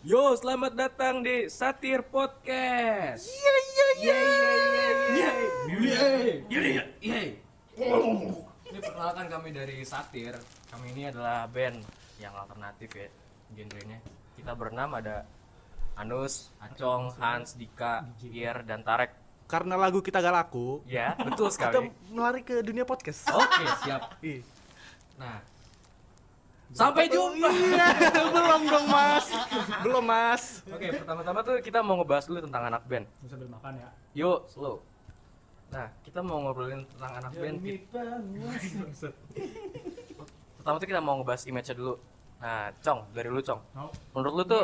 Yo, selamat datang di Satir Podcast. iya. Ini perkenalkan kami dari Satir. Kami ini adalah band yang alternatif ya genrenya. Kita bernama ada Anus, Acong, Hans, Dika, Gier, dan Tarek. karena lagu kita gak laku Ya, betul kita sekali. melari ke dunia podcast Oke, siap. Ih. Nah, sampai jumpa. iya belum dong mas belum mas Oke, pertama-tama tuh kita mau ngebahas dulu tentang anak band. sambil makan ya Yuk, slow. Nah, kita mau ngobrolin tentang anak band. Pertama tuh kita mau ngebahas image-nya dulu. Nah, Cong, dari lu Cong. mau Menurut lu tuh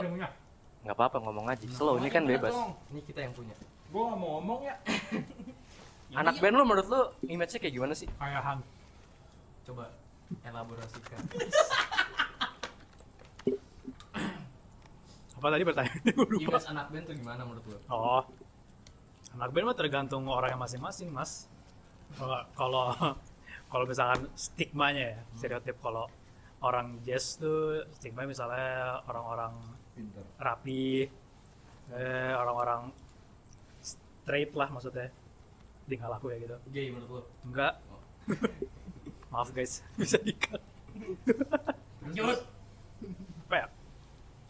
nggak apa-apa ngomong aja. Slow, ini kan bebas. Ini kita yang punya. gue nggak mau ngomong ya Anak band lu menurut lu image-nya kayak gimana sih? kayak hang Coba elaborasikan. apa tadi pertanyaannya gue lupa image anak band tuh gimana menurut lu? oh anak band mah tergantung orangnya masing-masing mas Kalau- kalau kalau misalkan stigmanya ya Hmm. stereotip kalau orang jazz tuh stigma misalnya orang-orang rapi eh, orang-orang straight lah maksudnya tinggal aku ya gitu Gay menurut lu? enggak Oh. maaf guys bisa dikat Yus. apa ya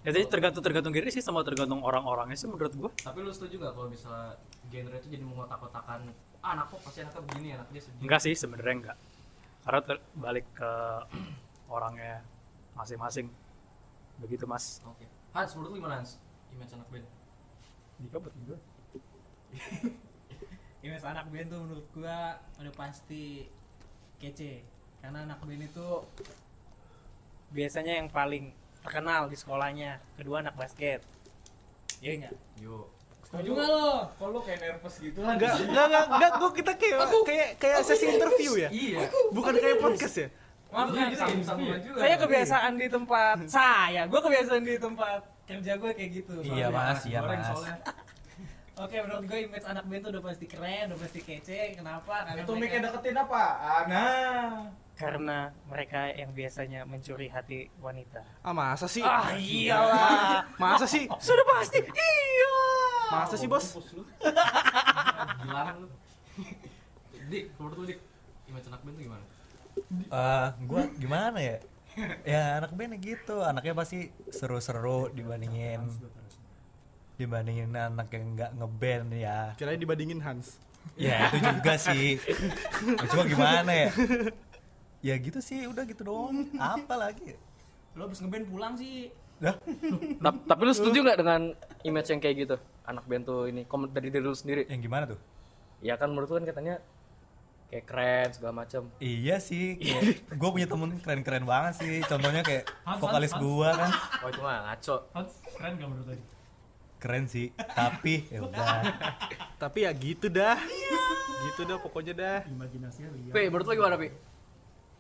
ya jadi tergantung tergantung diri sih sama tergantung orang-orangnya sih menurut gua Tapi lu setuju nggak kalau misalnya genre itu jadi mengotak-kotakan ah, anak pop pasti anaknya begini, anaknya segini. Enggak sih sebenarnya enggak. Karena ter- balik ke orangnya masing-masing. Begitu Mas. Oke. Hans, menurut lu gimana Hans? Image anak band? Dika buat gue. image anak band tuh menurut gua udah pasti kece karena anak band itu biasanya yang paling terkenal di sekolahnya kedua anak basket iya enggak Yo. setuju nggak lo kok lu kayak nervous gitu lah Enggak, enggak, enggak, enggak, gua kita kayak kayak kayak sesi interview ya. Iya. Bukan kayak podcast ya. maaf Iya, kan kita kayak sambungan juga. saya kebiasaan di tempat saya gua kebiasaan di tempat kerja gue kayak gitu Iya, soalnya. Mas, iya, Goreng Mas. soalnya. Oke, menurut gue image anak band tuh udah pasti keren, udah pasti kece. Kenapa? Karena itu mereka- mikir deketin apa nah karena mereka yang biasanya mencuri hati wanita. Ah, masa sih? Ah Iya. iyalah. Masa sih? Sudah pasti. Iya. Masa sih, Bos? Gilaan lu. Dik, menurut lu Dik, image anak band tuh gimana? Eh, gua gimana ya? Ya anak band gitu, anaknya pasti seru-seru dibandingin dibandingin anak yang nggak ngeband ya. Kirain dibandingin Hans. Ya itu juga sih. Ya, Cuma gimana ya? Ya gitu sih, udah gitu doang. Apa lagi? ya? Lo habis ngeband pulang sih. Dah, Tapi lu setuju nggak dengan image yang kayak gitu? Anak band tuh ini komen dari diri lu sendiri. yang gimana tuh? Ya kan menurut lu kan katanya kayak keren segala macam. Iya sih, kayak gue punya temen keren-keren banget sih. Contohnya kayak vokalis gua kan, Oh itu mah ngaco. Hans keren gak menurut tadi keren sih. Tapi ya udah, Tapi ya gitu dah. Gitu dah pokoknya dah. imajinasinya liar Pi, menurut lu gimana, Pi?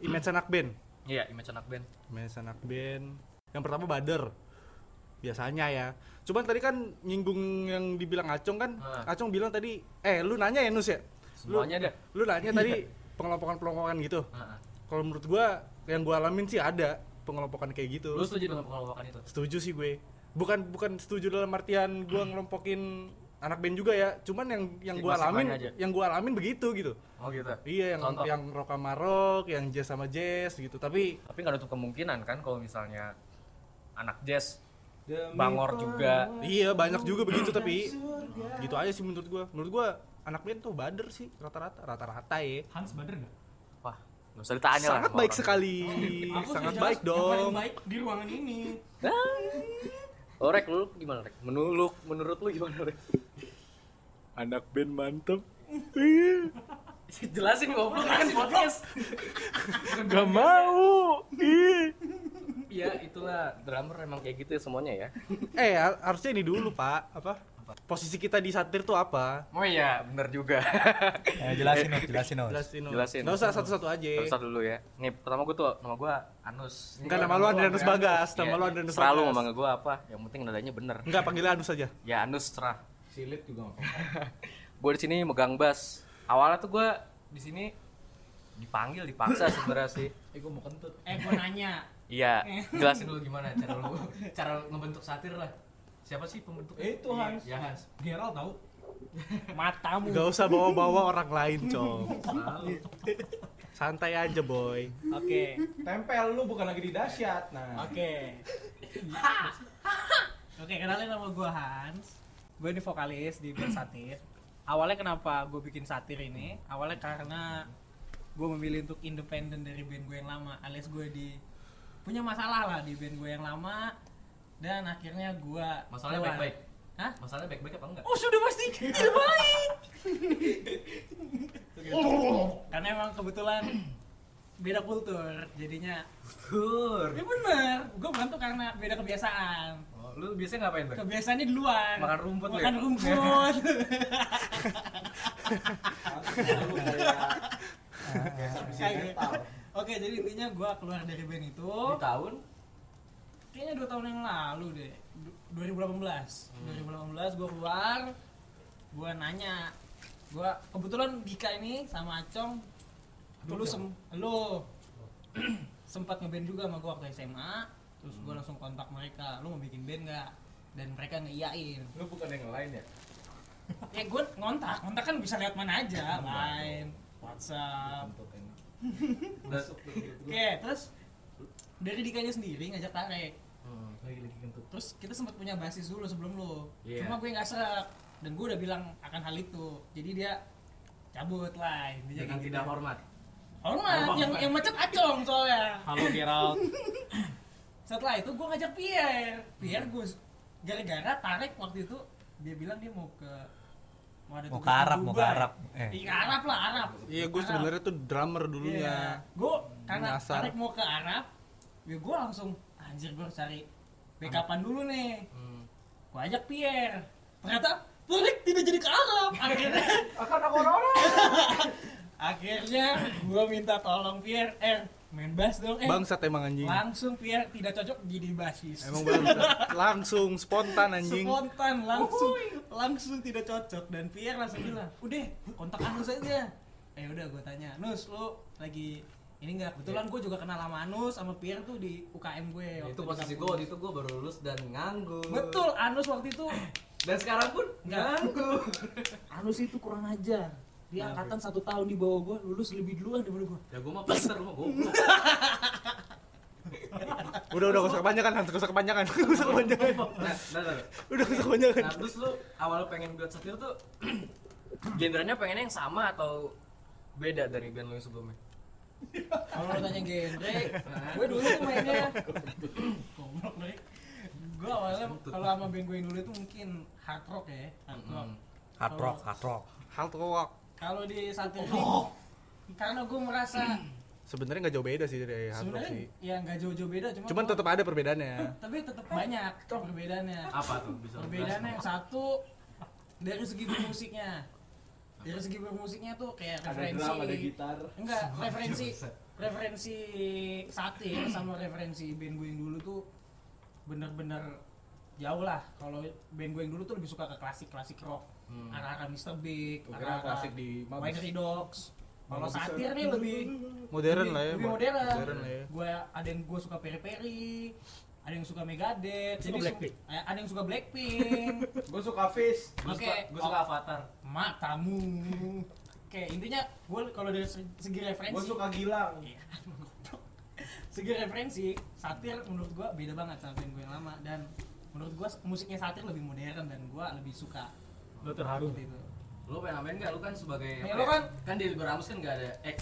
Image anak band. Iya, image anak band. Image anak band. Yang pertama Bader. Biasanya ya. Cuman tadi kan nyinggung yang dibilang Acong kan. Ah. Acong bilang tadi, "Eh, lu nanya ya, Nus ya?" Lu- Semuanya Iya. dah. Lu nanya tadi pengelompokan-pengelompokan gitu. Heeh. Kalau menurut gua yang gua alamin sih ada pengelompokan kayak gitu. Lu setuju dengan pengelompokan itu? setuju sih gue bukan bukan setuju dalam artian gue ngelompokin anak band juga ya cuman yang yang Jadi gue masih alamin main aja. yang gue alamin begitu gitu Oh gitu. iya yang Contoh. yang rock sama rock yang jazz sama jazz gitu tapi Tapi nggak ada tuh kemungkinan kan kalau misalnya anak jazz bangor juga. iya banyak juga begitu tapi gitu aja sih menurut gue menurut gue anak band tuh bader sih rata-rata rata-rata ya Hans bader gak? Wah, nggak usah ditanya lah. sangat sama baik orang. sekali sangat baik dong baik di ruangan ini. Nah. Oh, Rek, lu gimana, Rek? Menurut menurut lu gimana, Rek? anak band mantep Iya. Jelasin goblok kan podcast. gak mau Ih. Iya, itulah drummer emang kayak gitu ya semuanya ya. eh har- harusnya ini dulu pak apa posisi kita di satir tuh apa Oh iya, bener juga. ya, jelasin dong, jelasin dong. Jelasin. Nol. Jelasin. Nggak usah satu-satu aja. Terus satu dulu ya. Nih, pertama gue tuh nama gue Anus. Enggak nama lu Adrianus Bagas, nama lu Adrianus Bagas. Iya, Selalu ngomong gue apa, yang penting nadanya bener. Enggak panggil Anus aja. Ya Anus cerah. silit juga gak apa-apa Gue di sini megang bass. Awalnya tuh gue di sini dipanggil dipaksa sebenarnya sih. eh gue mau kentut Eh, gue nanya. Iya, jelasin dulu gimana cara lu cara lu ngebentuk satir lah. Siapa sih pembentuk? Eh, itu Hans. Ya Hans. Gerald tahu matamu Gak usah bawa-bawa orang lain, Cong. Santai aja, boy. oke tempel lu bukan lagi di dahsyat nah oke oke kenalin nama gue Hans gue ini vokalis di band Satir awalnya kenapa gue bikin Satir ini awalnya karena gue memilih untuk independen dari band gue yang lama alias gue di punya masalah lah di band gue yang lama dan akhirnya gue Masalahnya keluar. baik-baik. Hah? Masalahnya baik-baik apa enggak? Oh sudah pasti tidak baik. Karena emang kebetulan beda kultur, jadinya. Tur. Ya bener, gue bantu karena beda kebiasaan. Oh, lu biasanya ngapain, Bang? Kebiasaannya di luar. Makan rumput, Makan lu ya? rumput. Oke, jadi intinya gue keluar dari band itu Di tahun kayaknya dua tahun yang lalu deh. Du- 2018. 2018 gue keluar, gue nanya, gue kebetulan Dika ini sama Acong dulu sem lu sempat ngeband juga sama gue waktu SMA terus gue langsung kontak mereka lu mau bikin band nggak dan mereka ngeiyain lu bukan yang lain ya ya gue ngontak ngontak kan bisa lewat mana aja line WhatsApp untuk ini Masuk oke terus dari dikanya sendiri ngajak tarik Hmm, lagi lagi kentut terus kita sempat punya basis dulu sebelum lo Iya. cuma gue nggak serak dan gue udah bilang akan hal itu jadi dia cabut lah intinya dengan kayak tidak gitu. hormat. hormat yang yang macet acong soalnya Halo Gerald. setelah itu gue ngajak Pierre Hmm. Pierre gue gara-gara tarik waktu itu dia bilang dia mau ke mau ada tugas Mau ke di Arab, mau ke Dubai. Arab. Eh. Ih, Arab lah Arab Iya, gue sebenarnya tuh ya. drummer dulunya. gue karena Nyasar. tarik mau ke Arab ya gue langsung anjir gue harus cari backupan dulu nih Hmm. gue ajak Pierre ternyata Tarik tidak jadi ke Arab akhirnya akan aku orang akhirnya gue minta tolong Pierre eh main bass dong eh Bangsat emang anjing. langsung Pierre tidak cocok jadi bassis Emang bangsat. Langsung spontan anjing. spontan langsung langsung tidak cocok dan Pierre langsung bilang udah kontak Anus aja eh udah gue tanya Nus lu lagi ini Iya. enggak kebetulan gue juga kenal sama Anus sama Pierre tuh di UKM gue waktu Itu di posisi gue kampus. waktu itu gue baru lulus dan nganggur. Iya, betul Anus waktu itu Dan sekarang pun Enggak. nganggur. Anus itu kurang ajar dia angkatan satu tahun di bawah gue lulus lebih duluan daripada gue ya gue mah pinter, gue goblok. Udah udah gak usah kepanjangan, Hans, gak usah kepanjangan. Gak usah kepanjangan. Nah, nah, nah, nah. Udah gak usah kepanjangan. Nah, terus lu awal pengen buat satir tuh gendernya pengennya yang sama atau beda dari band lu yang sebelumnya? kalau lo tanya genre gue dulu tuh mainnya goblok lu gue awalnya kalau sama band gue yang dulu itu mungkin hard rock ya hard rock Mm-mm. Hard rock, hard rock. Hal tuh Kalau di satu ini, karena gue merasa sebenarnya nggak jauh beda sih dari hard Iya, rock sebenarnya sih. ya nggak jauh-jauh beda, cuma Cuman gua- tetap ada perbedaannya. tapi tetap banyak perbedaannya. Apa tuh bisa? lu jelasin? Perbedaannya yang satu dari segi bermusiknya, dari segi bermusiknya tuh kayak ada referensi, drum ada gitar enggak Iya, referensi, referensi satir sama referensi band gue yang dulu tuh bener-bener jauh lah. Kalau band gue yang dulu tuh lebih suka ke klasik klasik rock, Hmm. arah-arah Mr. Big, Gua kira arah-arah klasik di Mabes. Winery Dogs. Kalau Mabes itu- satir nih lebih Modern lebih- lah ya. lebih modern, lah ya. Gua ada yang gue suka peri peri ada yang suka megadeth Suka jadi su- Blackpink. eh, ada yang suka blackpink gue suka fish Gua Oke. suka, gua suka Avatar. matamu oke intinya gue kalau dari se- segi gue referensi suka gilang Iya. segi referensi satir menurut gue beda banget sama band gue yang lama dan menurut gue musiknya satir lebih modern dan gue lebih suka Lu gitu. terharu. seperti itu Lu pengen namain nggak? Lu kan sebagai Ya, lu kan- kan di Liberamus kan nggak ada eh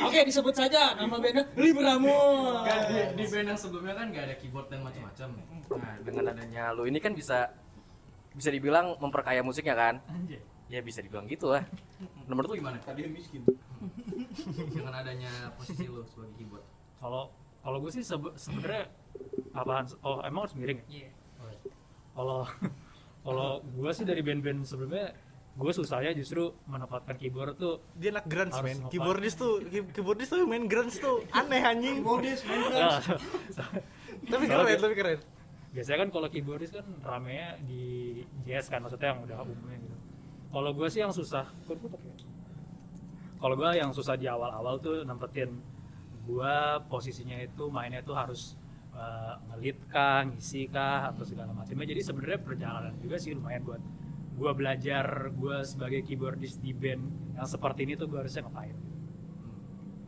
oke disebut saja nama bandnya Libramo kan di, di iya, band yang sebelumnya kan nggak ada keyboard dan macam-macam. Nah, dengan adanya lu ini kan bisa bisa dibilang memperkaya musiknya kan? Anjay. Ya bisa dibilang gitu lah. Menurut lu gimana? tadi miskin Dengan adanya posisi lu sebagai keyboard. Kalau kalau gue sih sebe- sebenarnya apaan? Oh, emang harus miring. ya? Iya. Kalau kalau gue sih dari band-band sebelumnya gue susahnya justru menempatkan keyboard tuh Dia anak grunge, Harus men. sopan. Keyboardis tuh, key- keyboardis tuh main grunge tuh aneh anjing. Nah, tapi keren, tapi keren. biasanya kan kalau keyboardis kan ramenya di jazz kan maksudnya yang udah umumnya gitu kalau gue sih yang susah kok gua pakai? kalau gue yang susah di awal-awal tuh nempetin gue posisinya itu mainnya tuh harus eh, ngelit kah, ngisi kah, atau segala macamnya. Jadi sebenarnya perjalanan juga sih lumayan buat gua belajar gua sebagai keyboardist di band yang seperti ini tuh gua harusnya ngapain.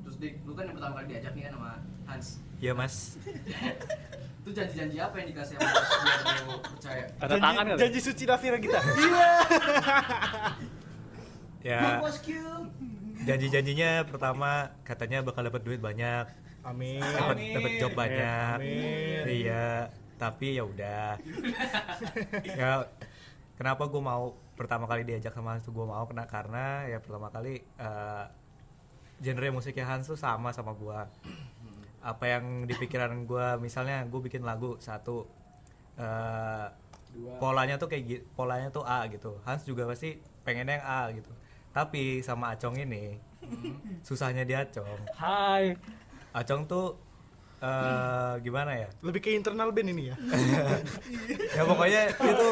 Terus Dik, lu kan yang pertama kali diajak nih kan sama Hans. ya mas Itu janji-janji apa yang dikasih sama Hans biar lu percaya? Tanda tangan kali. ya. janji suci Davira kita ya janji-janjinya pertama katanya bakal dapat duit banyak amin dapat dapat job banyak Amin. iya tapi ya udah ya kenapa gue mau pertama kali diajak sama Hans tuh gue mau kena karena ya pertama kali eh, genre musiknya Hans tuh sama sama gue apa yang di pikiran gue misalnya gue bikin lagu satu eh, polanya tuh kayak gi- polanya tuh A gitu Hans juga pasti pengennya yang A gitu tapi sama Acong ini Hmm. susahnya di Acong Hai. Acong tuh eh gimana ya? lebih ke internal band ini ya Ya pokoknya itu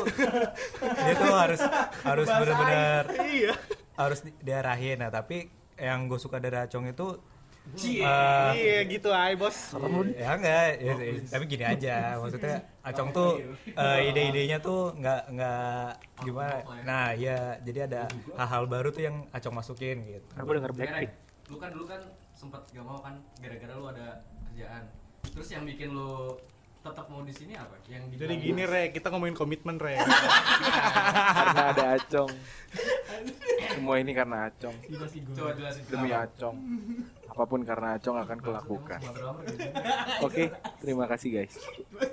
dia tuh harus harus benar-benar iya harus di- diarahin. Nah, tapi yang gue suka dari Acong itu eh, iya gitu ay bos ya enggak ya, ya, tapi gini aja maksudnya acong tuh eh, ide-idenya tuh nggak nggak gimana nah ya jadi ada hal-hal baru tuh yang acong masukin gitu Aku denger Blackpink. Lu kan dulu kan sempat gak mau kan gara-gara lu ada kerjaan. Terus yang bikin lu tetap mau di sini apa? Yang jadi gini re kita ngomongin komitmen re karena ada acong semua ini karena acong Coba jelasin demi kenapa. acong apapun karena acong akan kulakukan Maksudnya emang sebuah drummer gitu. oke terima kasih guys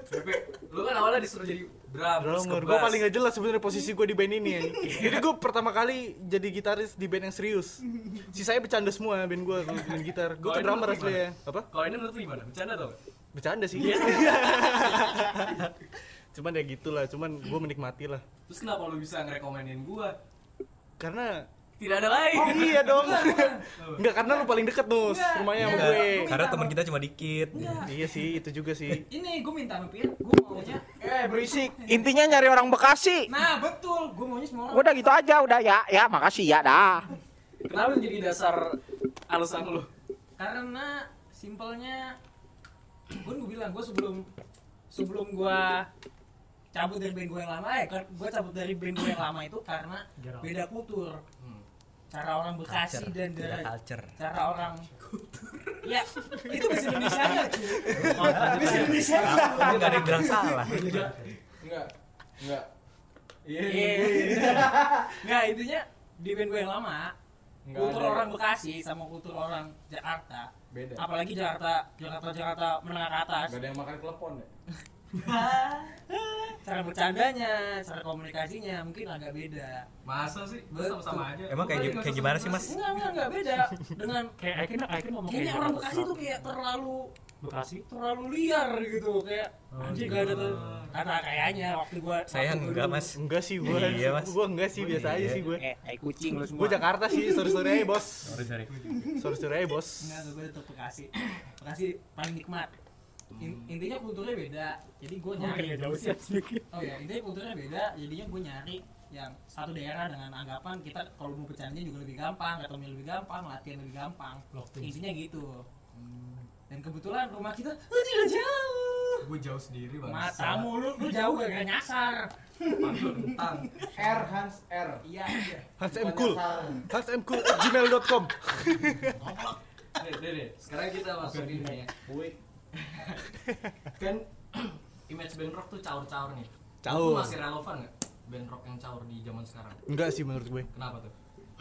Tapi lu kan awalnya disuruh jadi drum, terus ke drummer gue bass. paling gak jelas sebenarnya posisi gue di band ini ya jadi gue pertama kali jadi gitaris di band yang serius sisanya bercanda semua band gue kalau main gitar gue Kalau tuh ini drummer lu asli ya apa Kalau ini menurut lu gimana? Bercanda tau gak? bercanda sih cuman ya gitulah cuman gue menikmati lah Terus kenapa lu bisa ngerekomenin gua? karena Tidak ada lain. oh iya dong nggak karena lu paling deket nus rumahnya sama gue Enggak, Iya, karena teman kita cuma dikit Enggak. iya sih itu juga sih Ini gue minta sama Pir, gue maunya Eh berisik. intinya nyari orang bekasi Nah betul, gue maunya semua orang udah gitu aja udah ya ya makasih ya dah Kenapa itu jadi dasar alasan lu? Karena simpelnya Gue gue bilang, gue sebelum Sebelum gue cabut dari band gue yang lama ya Gue cabut dari band gue yang lama itu karena beda kultur Hmm. Cara orang Bekasi dan Beda dari Iya, culture cara orang ya itu bahasa Indonesia nya bahasa lanjut. Indonesia Lu nggak ada yang bilang salah Enggak. Enggak. Iya. Iya, nggak intinya Nah, di band gue yang lama Nggak kultur ada. orang Bekasi sama kultur orang Jakarta Beda. apalagi Jakarta Jakarta Jakarta menengah ke atas Enggak ada yang makan klepon ya. cara bercandanya cara komunikasinya mungkin agak beda Masa sih? Gua Betul. sama-sama aja. Emang kayak Gua kan gi- kayak nggak gimana sama-sama Iya sih, Mas? enggak enggak enggak beda dengan Kayak Aiken, Aiken ngomong kayaknya kayak orang gitu. Bekasi tuh kayak terlalu Bekasi. terlalu liar gitu kayak anjir gak ada tuh kata kayaknya waktu gua saya waktu gua Oh, iya. enggak dulu. mas enggak sih gue Iya, Mas. gue enggak sih biasa aja Iya. sih gue eh tai kucing lu gue Jakarta sih sorry sorry aja bos sorry sorry sorry sorry aja bos Enggak, gue tetap Bekasi. Bekasi paling nikmat. Hmm. In- intinya kulturnya beda. Jadi Oh, gue iya, nyari. Kayak jauh sih sedikit. Oh ya, intinya kulturnya beda. Jadinya gue nyari yang satu daerah dengan anggapan kita kalau mau bercanda juga lebih gampang, ketemu lebih gampang, latihan lebih gampang. Intinya gitu. Dan kebetulan rumah kita oh, tidak jauh. Gua jauh sendiri banget. Matamu lu, lu jauh gak gak nyasar. Tentang. R Hans R. Iya, iya. Hans M Cool Hans M Cool at gmail.com Nih, nih, nih. Sekarang kita masuk ini ya. Wih. Kan image band rock tuh caur-caur nih. Lu Caur. Masih relevan nggak band rock yang caur di zaman sekarang? enggak sih menurut gue Kenapa tuh?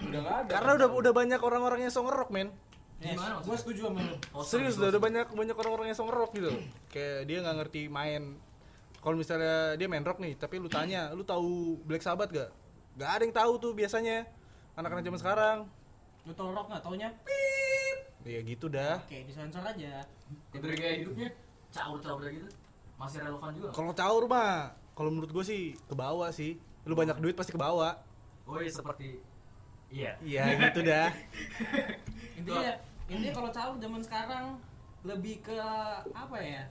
Udah enggak ada. karena udah udah banyak orang-orang yang song rock men Yes, Gimana maksudnya? gue setuju sama lu. Oh, serius sorry, udah, sorry. udah banyak banyak orang-orang yang song rock gitu kayak dia nggak ngerti main kalau misalnya dia main rock nih tapi lu tanya lu tahu Black Sabbath gak gak ada yang tahu tuh biasanya anak-anak zaman sekarang Lu tau rock gak taunya? ya gitu dah Oke, disensor aja. Ya, Dari gaya hidupnya caur-caur kayak gitu masih relevan juga. nggak? kalau caur mah kalau menurut gue sih ke bawah sih lu banyak duit pasti ke bawah Oh iya seperti iya. iya gitu dah intinya intinya kalau caur zaman sekarang lebih ke apa ya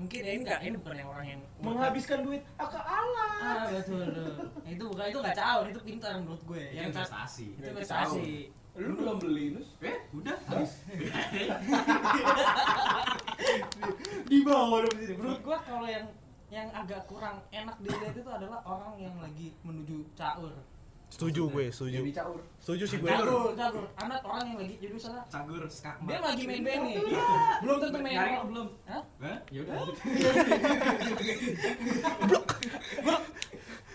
mungkin ya ini enggak ini bukan yang orang yang menghabiskan duit agak ala. ah betul betul. itu bukan itu enggak caur itu pintar menurut gue Iya, Itu yang investasi investasi. itu investasi Lu belum beli nus? Eh, udah habis. bawah dong di sini. Ya, Menurut gua kalau yang yang agak kurang enak dilihat itu adalah orang yang lagi menuju caur. Setuju gue, setuju. Jadi caur. Setuju sih gue. Caur, caur. Anak orang yang lagi jadi misalnya Cagur, skakmat. dia lagi main band nih. Belum tentu main Nyaring. kalau belum. Hah? Hah? Ya udah. lanjut.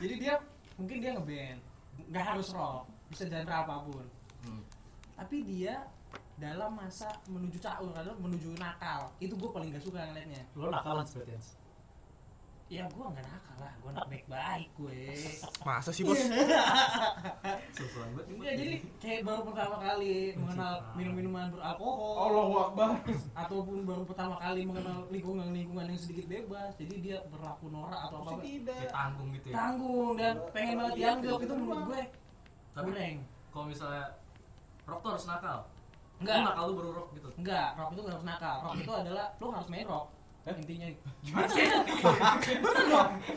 Jadi dia mungkin dia ngeband, nggak harus rock, bisa genre apapun. Hmm. Tapi dia dalam masa menuju caur adalah menuju nakal. Itu gue paling gak suka ngeliatnya. Lo nakalan seperti itu. Ya gue nggak nakal lah, gue anak baik-baik gue. Masa sih, Bos? Iya. Susulan buat Ya, jadi kayak baru pertama kali mengenal minum-minuman beralkohol Allahu Akbar. ataupun baru pertama kali mengenal lingkungan-lingkungan yang sedikit bebas. Jadi dia berlaku norak atau apa Kayak tanggung gitu ya tanggung dan pengen banget dianggap itu menurut gue Tapi- kurang. kalau misalnya rock tuh harus nakal Enggak. Lu nakal lu baru rock gitu Enggak, rock itu nggak harus nakal. Rock itu adalah lo harus main rock. Intinya gitu. gimana sih?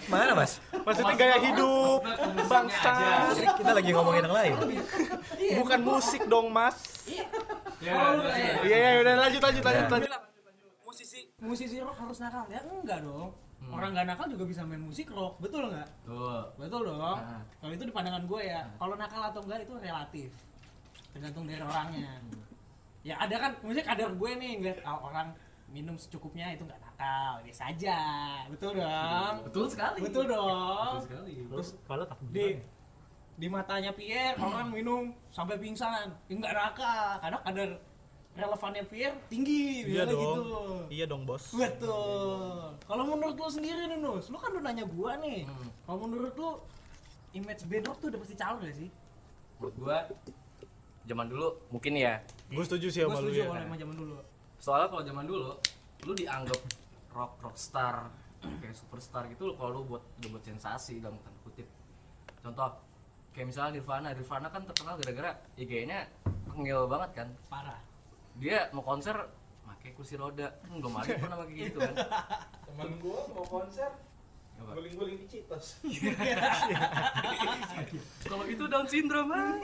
Mana mas? Maksudnya gaya hidup, bangsa. Kita lagi ngomongin yang lain. Iya. Iya. Bukan musik dong, Mas. ya, Kalau lu ya, kayak- ya. Iya, iya, udah lanjut lanjut lanjut Iya. lanjut. musisi musisi rock harus nakal ya enggak dong. Hmm. Orang nggak nakal juga bisa main musik rock, betul nggak? tuh Betul dong. Nah. Kalau itu di pandangan gue Ah. ya. Kalau nakal atau enggak itu relatif. Tergantung dari orangnya. Hmm. Ya ada kan, maksudnya kadar gue nih ngeliat ah, orang minum secukupnya itu nggak nakal, biasa aja. Betul dong. betul sekali Betul dong. betul sekali Terus kalau tak Di di matanya Pierre orang minum sampai pingsan, Ya, nggak nakal. Karena kadar relevannya Pierre tinggi, Iya biasanya dong. gitu. Iya dong, Bos. Betul. Kalau menurut lu sendiri nih, Nus, lu kan udah nanya gua nih. Hmm. Kalau menurut lu image bedok tuh udah pasti calon gak sih? menurut gua zaman dulu mungkin ya Gue setuju sih sama Gua lu setuju ya. kalau emang zaman dulu. soalnya kalau zaman dulu lu dianggap rock rockstar kayak superstar gitu kalau lu buat udah buat sensasi dalam tanda kutip contoh kayak misalnya Nirvana Nirvana kan terkenal gara-gara IG-nya ngil banget kan Parah. dia mau konser pakai kursi roda kan gue mari pernah pakai gitu kan Temen gua mau konser, Apa? guling-guling di Citos. kalau itu Down syndrome ah.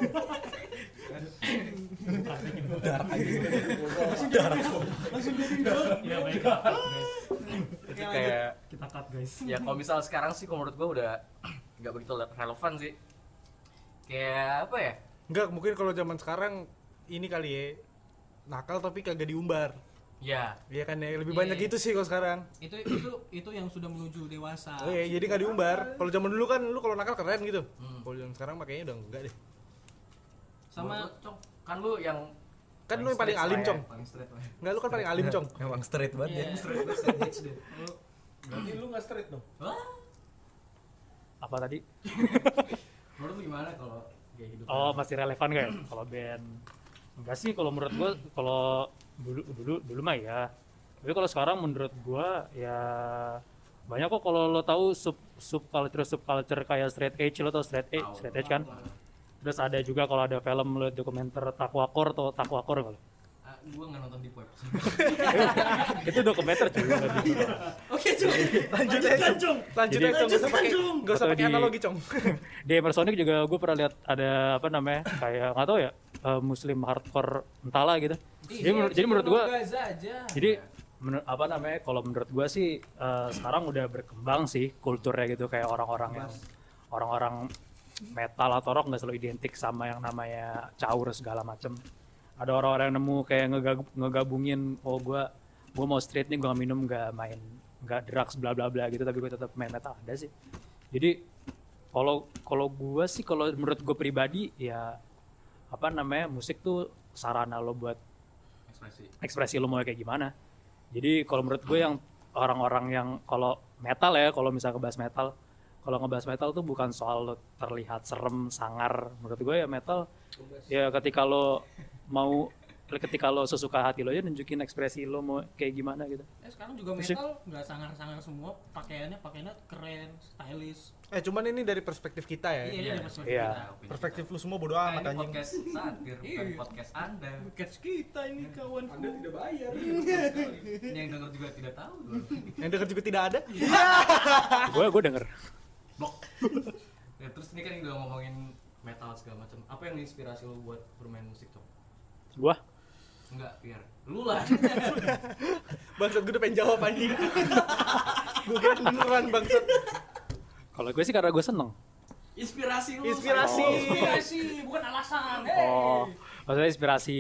Iya baik. Guys, itu kayak Kita cut guys. ya kalau misal sekarang sih kalau menurut gue udah nggak begitu relevan sih kayak apa ya Enggak, mungkin kalau zaman sekarang ini kali ya nakal tapi kagak diumbar. ya Iya kan ya, lebih Iya. banyak gitu sih kalau sekarang. Itu itu itu yang sudah menuju dewasa. Oh iya, jadi nggak diumbar. Kalau zaman dulu kan lu kalau nakal keren gitu. Hmm. Kalau zaman sekarang makanya udah enggak deh. Sama menurut lu, Cong, kan lu yang Kan lu yang paling straight alim, lah ya, Cong. paling straight lah Enggak lu kan paling alim, Cong. Emang straight Iya. banget ya. Berarti lu nggak straight dong? Apa tadi? menurut lu gimana kalau gitu? gaya hidup Oh masih relevan gak ya kalau band? Enggak sih kalau menurut gua kalau dulu dulu dulu mah ya. Tapi kalau sekarang menurut gua ya banyak kok kalau lo tahu sub subculture subculture kayak straight edge lo tau straight edge straight edge kan. Terus ada juga kalau ada film lo liat dokumenter Takwakor atau Takwakor kalau. Ah, gua nggak nonton di web Itu dokumenter cuy. nggak gitu. Oke, Cung. Lanjut aja, Cong. Lanjut Jadi- aja, Cong. Gak usah pakai gak usah Atau pakai di- analogi, Cong. di Emersonic juga gue pernah lihat ada apa namanya kayak nggak tahu ya eh, Muslim hardcore entahlah gitu. Iya, Jadi, menurut- jadi menurut gue, jadi menur- apa namanya kalau menurut gue sih eh, sekarang udah berkembang sih kulturnya gitu kayak orang-orang yang orang-orang metal atau rock nggak selalu identik sama yang namanya caur segala macem. Ada orang-orang yang nemu kayak ngegab- ngegabungin oh gue gue mau straight nih gue nggak minum nggak main nggak drugs bla bla bla gitu tapi gue tetap main metal ada sih. Jadi kalau kalau gua sih kalau menurut gue pribadi ya apa namanya musik tuh sarana lo buat ekspresi ekspresi lo mau kayak gimana jadi kalau menurut gue yang orang-orang yang kalau metal ya kalau misalnya ngebahas metal kalau ngebahas metal tuh bukan soal lo terlihat serem sangar menurut gue ya metal ya ketika lo mau ketika lo sesuka hati lo aja nunjukin ekspresi lo mau kayak gimana gitu Eh, sekarang juga Fisik. metal nggak sangar-sangar semua, pakaiannya pakaiannya keren, stylish. Eh, cuman ini dari perspektif kita ya. Iya, iya. iya, masuk Iya. kita. opini Perspektif lu semua bodo kita. Nah, amat ini anjing. podcast satir bukan Iya. podcast anda Catch kita ini kawan. Anda tidak bayar. ini yang denger juga tidak tahu loh. Yang denger juga tidak ada. gue gue denger ya, terus ini kan yang udah ngomongin metal segala macam apa yang inspirasi lu buat bermain musik Cong? gue enggak biar lu lah Bangsat gue udah pengen jawab anjing. gue kira beneran bangsat. Kalau gue sih karena gue seneng. Inspirasi lu. Inspirasi. Oh. Inspirasi, bukan alasan. Hey. Oh, maksudnya inspirasi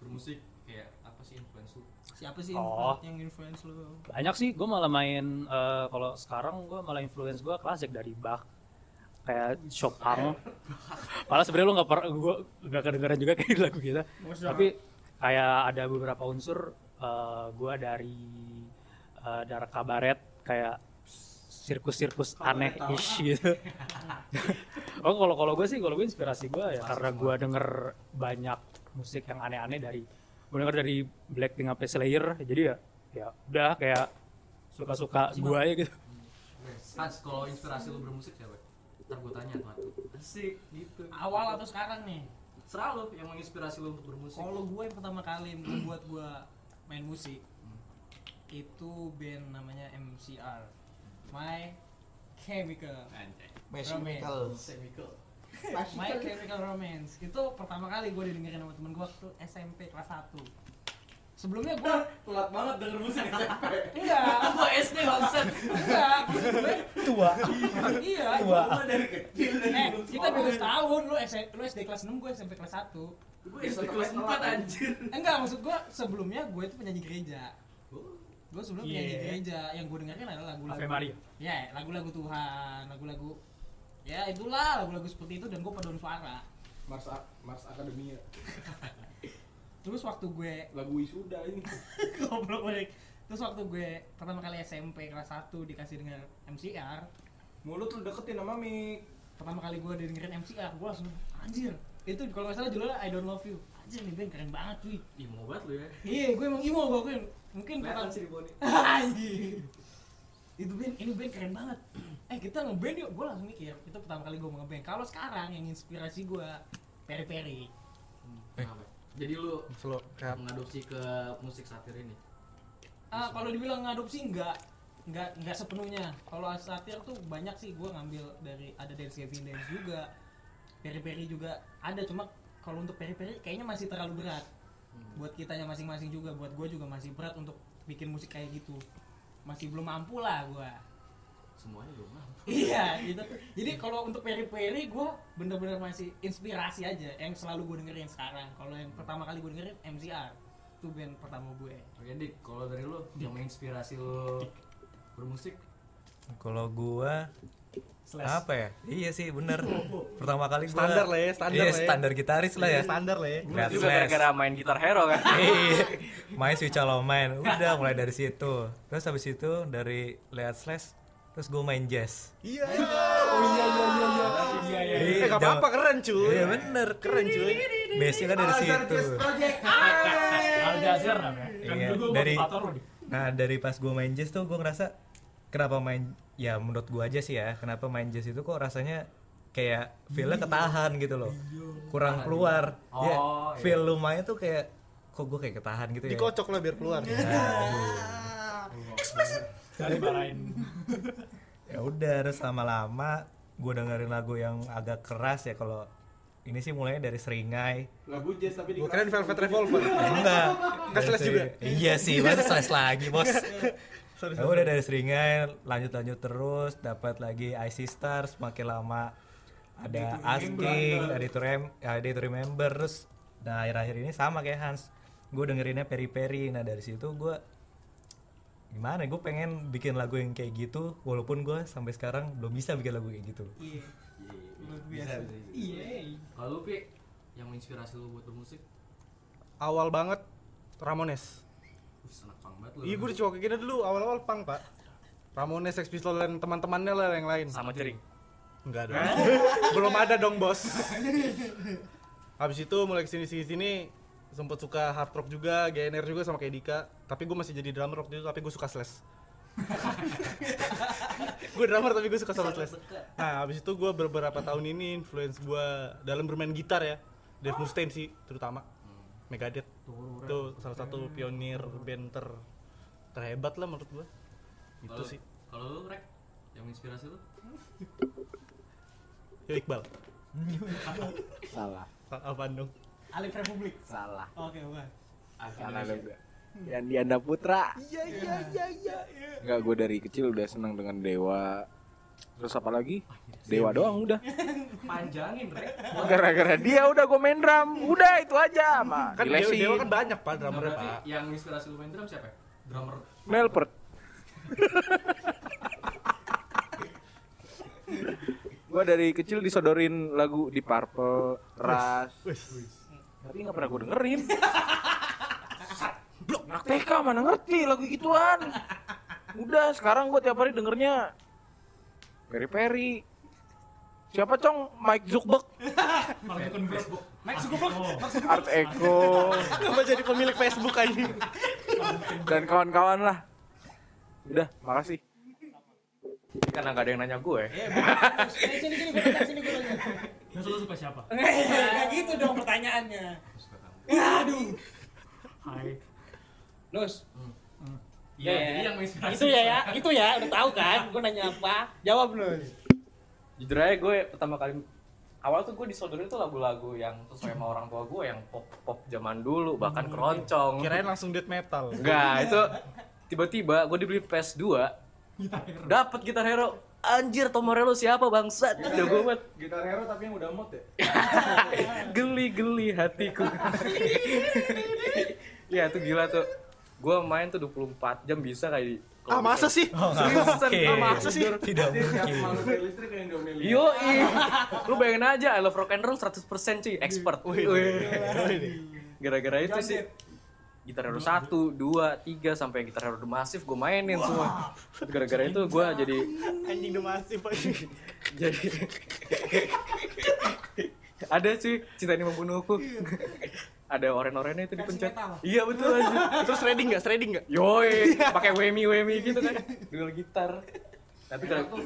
Bermusik kayak apa sih influence lu? Siapa sih Oh. influ- yang influence lu? banyak sih. Gue malah main eh, kalau sekarang gue malah influence gue klasik dari Bach kayak Chopin. Malah sebenarnya lu nggak per, gue nggak kedengeran juga kayak lagu kita. Tapi kayak ada beberapa unsur eh, gue dari eh, dari kabaret kayak sirkus-sirkus aneh ish gitu. oh kalau kalau gue sih kalau gue inspirasi gue ya karena gue denger banyak musik yang aneh-aneh dari gue denger dari Blackpink sampai Slayer jadi ya ya udah kayak suka-suka gue aja gitu. Hans, kalau inspirasi lu bermusik siapa? Ntar gue tanya tuh. Asik gitu. Awal atau sekarang nih? Selalu yang menginspirasi lu untuk bermusik. Kalau gue yang pertama kali yang membuat gue main musik Hmm. itu band namanya MCR, My Chemical Anjay. Romance. Chemical. My Chemical Romance itu pertama kali gue didengerin sama temen gue waktu SMP kelas 1 Sebelumnya gue Telat banget denger musik SMP. enggak, Gua SD bangset. enggak, maksud gue Tua. iya. Gua dari kecil dari Eh, belum kita beda sekolah. setahun, lu, S- lu SD kelas 6, gue SMP kelas 1 Gua SD kelas 4 anjir. Enggak, maksud gue sebelumnya gue itu penyanyi gereja Oh. Gue sebelumnya Iya. penyanyi gereja, yang gue dengerin adalah lagu-lagu Ave Maria. Ya, lagu-lagu Tuhan, lagu-lagu Ya itulah, lagu-lagu seperti itu dan gue paduan suara Mars A- Mars Akademia. Terus waktu gue Lagu wisuda ini. Goblok balik. Terus waktu gue pertama kali SMP kelas 1 dikasih denger MCR, Mulut lu deketin sama mic. pertama kali gue dengerin MCR, gue langsung anjir. Itu kalau nggak salah judulnya I Don't Love You. Anjir nih band keren banget cuy. Ih, mau banget lu ya. Iya, gue emang emo gue akuin. Mungkin Kelihatan pertama sih di body. Anjir. Itu band, ini band keren banget. eh kita ngeband yuk, gue langsung mikir. Itu pertama kali gue mau ngeband. Kalau sekarang yang inspirasi gue Peri Peri. Kenapa? Jadi lu Slow. Kayak mengadopsi ke musik satir ini. Ah, kalau dibilang ngadopsi enggak enggak enggak sepenuhnya. Kalau satir tuh banyak sih gua ngambil dari ada dance Kevin dance juga. Peri-peri juga ada cuma kalau untuk peri-peri kayaknya masih terlalu berat. Buat kitanya masing-masing juga, buat gua juga masih berat untuk bikin musik kayak gitu. Masih belum mampu lah gua. Semuanya belum mampu. iya, gitu. Jadi kalau untuk peri-peri gua bener-bener masih inspirasi aja yang selalu gua dengerin sekarang. Kalau yang pertama kali gua dengerin MCR. Itu band pertama gue. Oke, Dik, kalau dari lu yang menginspirasi lu bermusik Kalau gua Slash. apa ya? Iya sih bener. Pertama kali gua Standar lah ya, standar iya, lah ya. standar gitaris lah ya. standar lah ya. Lihat Juga Slash. gara-gara main gitar hero kan. Iya. main switch kalau main. Udah mulai dari situ. Terus habis itu dari lihat slash terus gua main jazz. Iya. Oh iya iya iya iya. Iya iya. Eh enggak apa-apa keren cuy. Iya bener. Keren cuy. Basic kan Ah, dari situ. Al Jazeera namanya. Kan Iya, dulu gue dari- motivator lu nih. Nah dari pas gue main jazz tuh gue ngerasa kenapa main ya menurut gue aja sih ya kenapa main jazz itu kok rasanya kayak feel-nya Iya. ketahan gitu loh kurang keluar ya Oh, iya. feel lumayan tuh kayak kok gue kayak ketahan gitu ya Dikocok lah biar keluar. Sekali marahin. ya udah terus lama-lama gue dengerin lagu yang agak keras ya kalau ini sih mulainya dari seringai Lagu jazz tapi Gue dikeras. keren Velvet Revolver. enggak Nggak Dari slash Seri- juga? iya sih masa slash lagi bos Sorry, Ya udah dari seringai lanjut lanjut terus dapat lagi IC Stars makin lama ada Asking ada itu rem ada itu remember terus nah akhir akhir ini sama kayak Hans gue dengerinnya peri peri nah dari situ gue gimana gue pengen bikin lagu yang kayak gitu walaupun gue sampai sekarang belum bisa bikin lagu kayak gitu Iya. Luar biasa. Bisa, bisa, bisa. Iya. Kalau lu, Pi, yang menginspirasi lu buat bermusik? Awal banget Ramones. Wih, senang banget lu. Iya gue dicokokin dulu awal-awal pang pak. Ramones, Sex Pistols dan teman-temannya lah yang lain. Sama jering. Enggak dong. Belum ada dong bos. Habis itu mulai kesini sini sini sempet suka hard rock juga, GNR juga sama kayak Dika. Tapi gue masih jadi drummer waktu itu, tapi gue suka Slash. gue drummer tapi gue suka sama Slash. Nah, habis itu gue beberapa tahun ini influence gue dalam bermain gitar ya. Dave Mustaine sih terutama. Megadeth. Itu salah satu pionir band ter terhebat lah menurut gue. Itu Kalau- sih. Kalau lu, Rek, yang menginspirasi lu? Yo Iqbal. Salah, Apaan dong? Alif Republik. salah, Oke, bukan. salah Akhirnya juga. Yang Dianda Putra. Iya iya iya iya. Enggak, gue dari kecil udah senang dengan Dewa. Terus apa lagi? Dewa doang udah. Panjangin, Rek. Gara-gara dia udah gue main drum. Udah itu aja, mah. Kan Dewa, Dilesin. Dewa kan banyak pak Nah, drummernya berarti pak. yang inspirasi lu main drum siapa ya? Drummer Melpert. gua dari kecil disodorin lagu di Purple, Ras. Tapi nggak pernah gua dengerin. Blok, anak TK mana ngerti lagu gituan. Udah, sekarang gua tiap hari dengernya Peri Peri. Siapa cong? Mike Zuckberg, Facebook. Max cukup Art Eko, Kenapa jadi pemilik Facebook aja? dan kawan-kawan lah. Udah, makasih. Ini Karena nggak ada yang nanya gue. Eh, Eh, Sini sini sini gue tanya sini gue tanya. Terus lu suka siapa? Nggak gitu dong pertanyaannya. Aduh. Hai. Los. Hmm. Iya, jadi yang menginspirasi. Itu ya ya, itu ya udah tahu kan gue nanya apa? Jawab Los. Jujur aja gue pertama kali awal tuh gue disodorin tuh lagu-lagu yang sesuai sama orang tua gue yang pop pop zaman dulu bahkan keroncong. Hmm, iya. Kirain langsung death metal. Enggak, itu tiba-tiba gue dibeli PS2 dapat gitar hero anjir Tomorello siapa bangsat jago banget Gitar Hero tapi yang udah mod ya. geli-geli hatiku ya itu gila tuh gue main tuh 24 jam bisa kayak Ah masa sih? Seriusan, ah, masa sih? Nah, Iya, Tidak Jadi siap mungkin. manusia listrik yang domeli. Yo, lu bayangin aja I Love Rock and Roll 100% cuy, expert. Gara-gara itu sih gitar hero 1, 2, 3 sampai yang gitar hero The Massive gue mainin semua. Gara-gara itu gue jadi Anjing demasif aja. jadi ada sih cinta ini membunuhku. ada oren-orennya itu dipencet. Iya betul aja. Terus shredding nggak? Shredding nggak? Yoi, pakai wemi wemi gitu kan. Grill gitar. Tapi Enak gara tuh.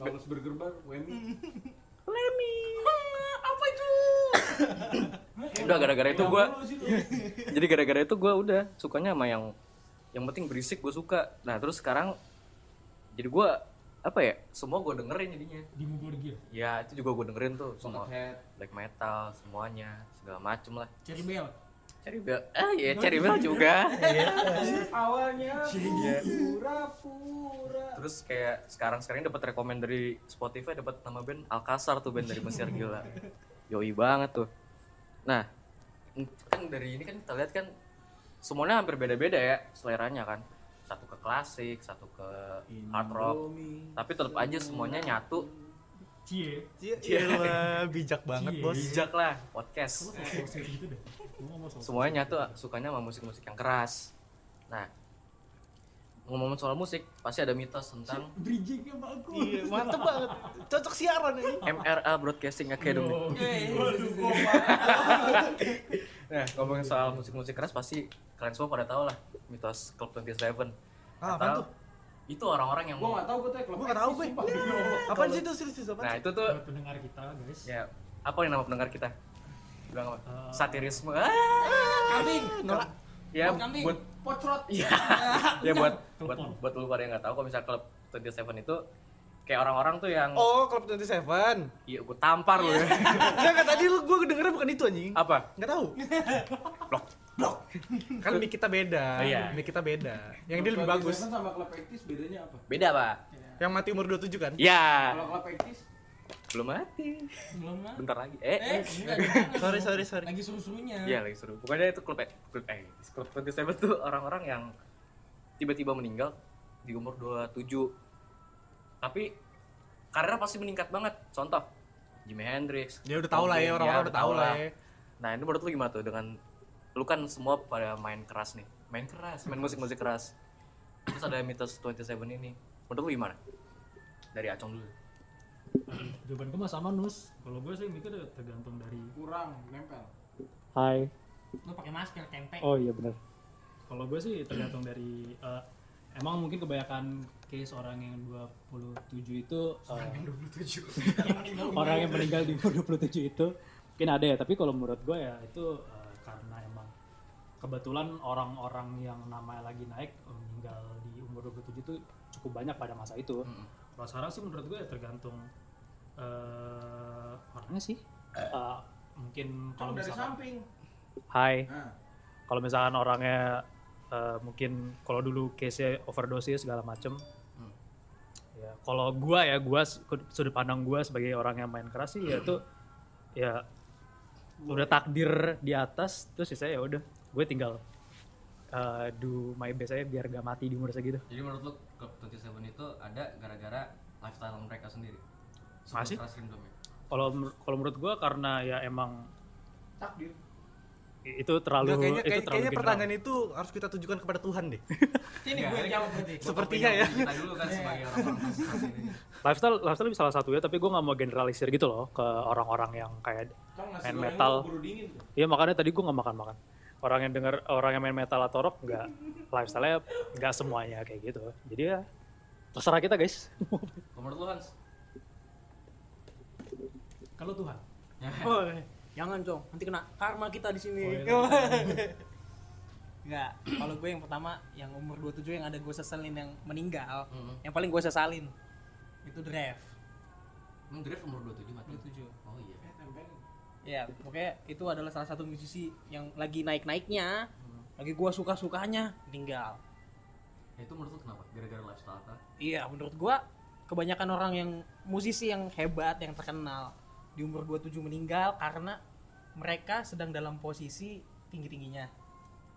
Bagus bergerbar, Wendy. udah gara-gara itu gue jadi gara-gara itu gue udah sukanya sama yang yang penting berisik gue suka nah terus sekarang jadi gue apa ya semua gue dengerin jadinya di mugul gear. ya itu juga gue dengerin tuh semua Head. black metal semuanya segala macem lah Cherry Bell. Cherry Bell ah ya Cherry Bell juga Awalnya pura-pura. Iya. terus kayak sekarang sekarang dapat rekomend dari Spotify dapat nama band Alkasar tuh band dari Mesir gila yoi banget tuh nah kan dari ini kan kita lihat kan semuanya hampir beda-beda ya seleranya kan satu ke klasik satu ke hard rock tapi tetap aja semuanya nyatu Cie. Iya, bijak banget bos. bijak lah podcast Kayak gitu deh. Gua ngomong soal semuanya nyatu sukanya sama musik-musik yang keras nah ngomong soal musik pasti ada mitos tentang Bridgingnya bagus. Iya, mantep banget. Cocok siaran ini. MRA Broadcasting Academy Iya, Nah, ngomongin soal musik-musik keras pasti kalian semua pada tahu lah mitos Club 27. Ah, apaan Atau tuh? itu orang-orang yang Gua enggak tahu gua tuh ya, klub Gua nggak tahu gue. Sumpah, demi Allah. Apaan sih itu serius serius Nah, apaan? sih? itu tuh buat pendengar kita guys. ya apa yang nama pendengar kita? Bilang apa? Satirisme. Ah! Kambing. Nolak. Ya Buat kambing. buat Pocrot. ya, ya buat buat Telepon. buat lu pada yang nggak tahu kalau misal Club 27 itu kayak orang-orang tuh yang Oh, Club 27. iya gue tampar lu ya. Enggak, enggak tadi lu gua dengernya bukan itu anjing. Apa? Enggak tahu. Blok, blok. Kan mic kita beda. Oh, iya. Mic kita beda. Yang dia lebih Club bagus. 27 sama klub Ektis bedanya apa? Beda, Pak. Yang mati umur 27 kan? Ya, Kalau klub Ektis belum mati. Belum lah. Bentar lagi. Eh, Eh, eh. enggak, jangan. Sorry, sorry, sorry. Lagi suruh-surunya. Iya lagi seru. Pokoknya itu klub klub eh klub 27 tuh orang-orang yang tiba-tiba meninggal di umur 27. Tapi karirnya pasti meningkat banget. Contoh Jimi Hendrix. Ya udah tahu lah Tom ya, orang-orang Green, udah tahu lah. ya. Nah, ini menurut lu gimana tuh dengan lu kan semua pada main keras nih. Main keras, main musik-musik keras. Terus ada mitos 27 ini. Menurut lu gimana? Dari Acong dulu. Jawaban gue mah sama Nus. Kalau gue sih mikir tergantung dari kurang nempel. Hai. Lu pakai masker tempe. Oh iya benar. kalau gue sih tergantung dari eh, emang mungkin kebanyakan case orang yang 27 itu eh, orang yang meninggal di umur 27 itu mungkin ada ya, tapi kalau menurut gue ya itu eh, karena emang kebetulan orang-orang yang namanya lagi naik eh, meninggal di umur 27 itu cukup banyak pada masa itu. Kalau sekarang sih menurut gue ya tergantung eh, orangnya sih. Eh, mungkin Kalau kalau dari misalkan samping. Ah. Hai. Nah, Kalau misalkan orangnya eh, mungkin kalau dulu case overdosis segala macem Hmm. ya kalau gua ya gua s- sudut pandang gua sebagai orang yang main keras sih ya itu ya udah takdir di atas terus ya saya ya udah gue tinggal eh, do my best aja biar gak mati di umur segitu Jadi menurut lu Club 27 itu ada gara-gara lifestyle mereka sendiri. Masih? Seputar Slim Dom Iya, ya? kalau menur- kalau menurut gua karena ya emang Takdir. itu terlalu kayaknya itu kayak- terlalu kayaknya general. pertanyaan itu harus kita tujukan kepada Tuhan deh. Ini gue yang jawab berarti. Buat Sepertinya opini- ya. opini Kita dulu kan sebagai orang-orang fasilitas ini. lifestyle lifestyle bisa salah satunya tapi gue nggak mau generalisir gitu loh ke orang-orang yang kayak Cong nasi Main goreng metal. lu keburu dingin tuh. ya makanya tadi gue nggak makan makan orang yang dengar orang yang main metal atau rock nggak lifestyle-nya nggak semuanya kayak gitu jadi ya terserah kita guys Kalau Menurut lu Hans? Kalau Tuhan, Ya. Oh, jangan dong, nanti kena karma kita di Oh, sini. iya. Enggak, kalau gue yang pertama yang umur 27 yang ada gue seselin yang meninggal, Hmm. Mm-mm. yang paling gue sesalin itu drive Emang Drift umur 27 mati? 27. Oh iya. Ya, pokoknya itu adalah salah satu musisi yang lagi naik-naiknya, Hmm. lagi gue suka-sukanya meninggal. Ya, itu menurut lu kenapa? Gara-gara lifestyle kah? Iya, menurut gua kebanyakan orang yang musisi yang hebat, yang terkenal di umur 27 meninggal karena mereka sedang dalam posisi tinggi-tingginya.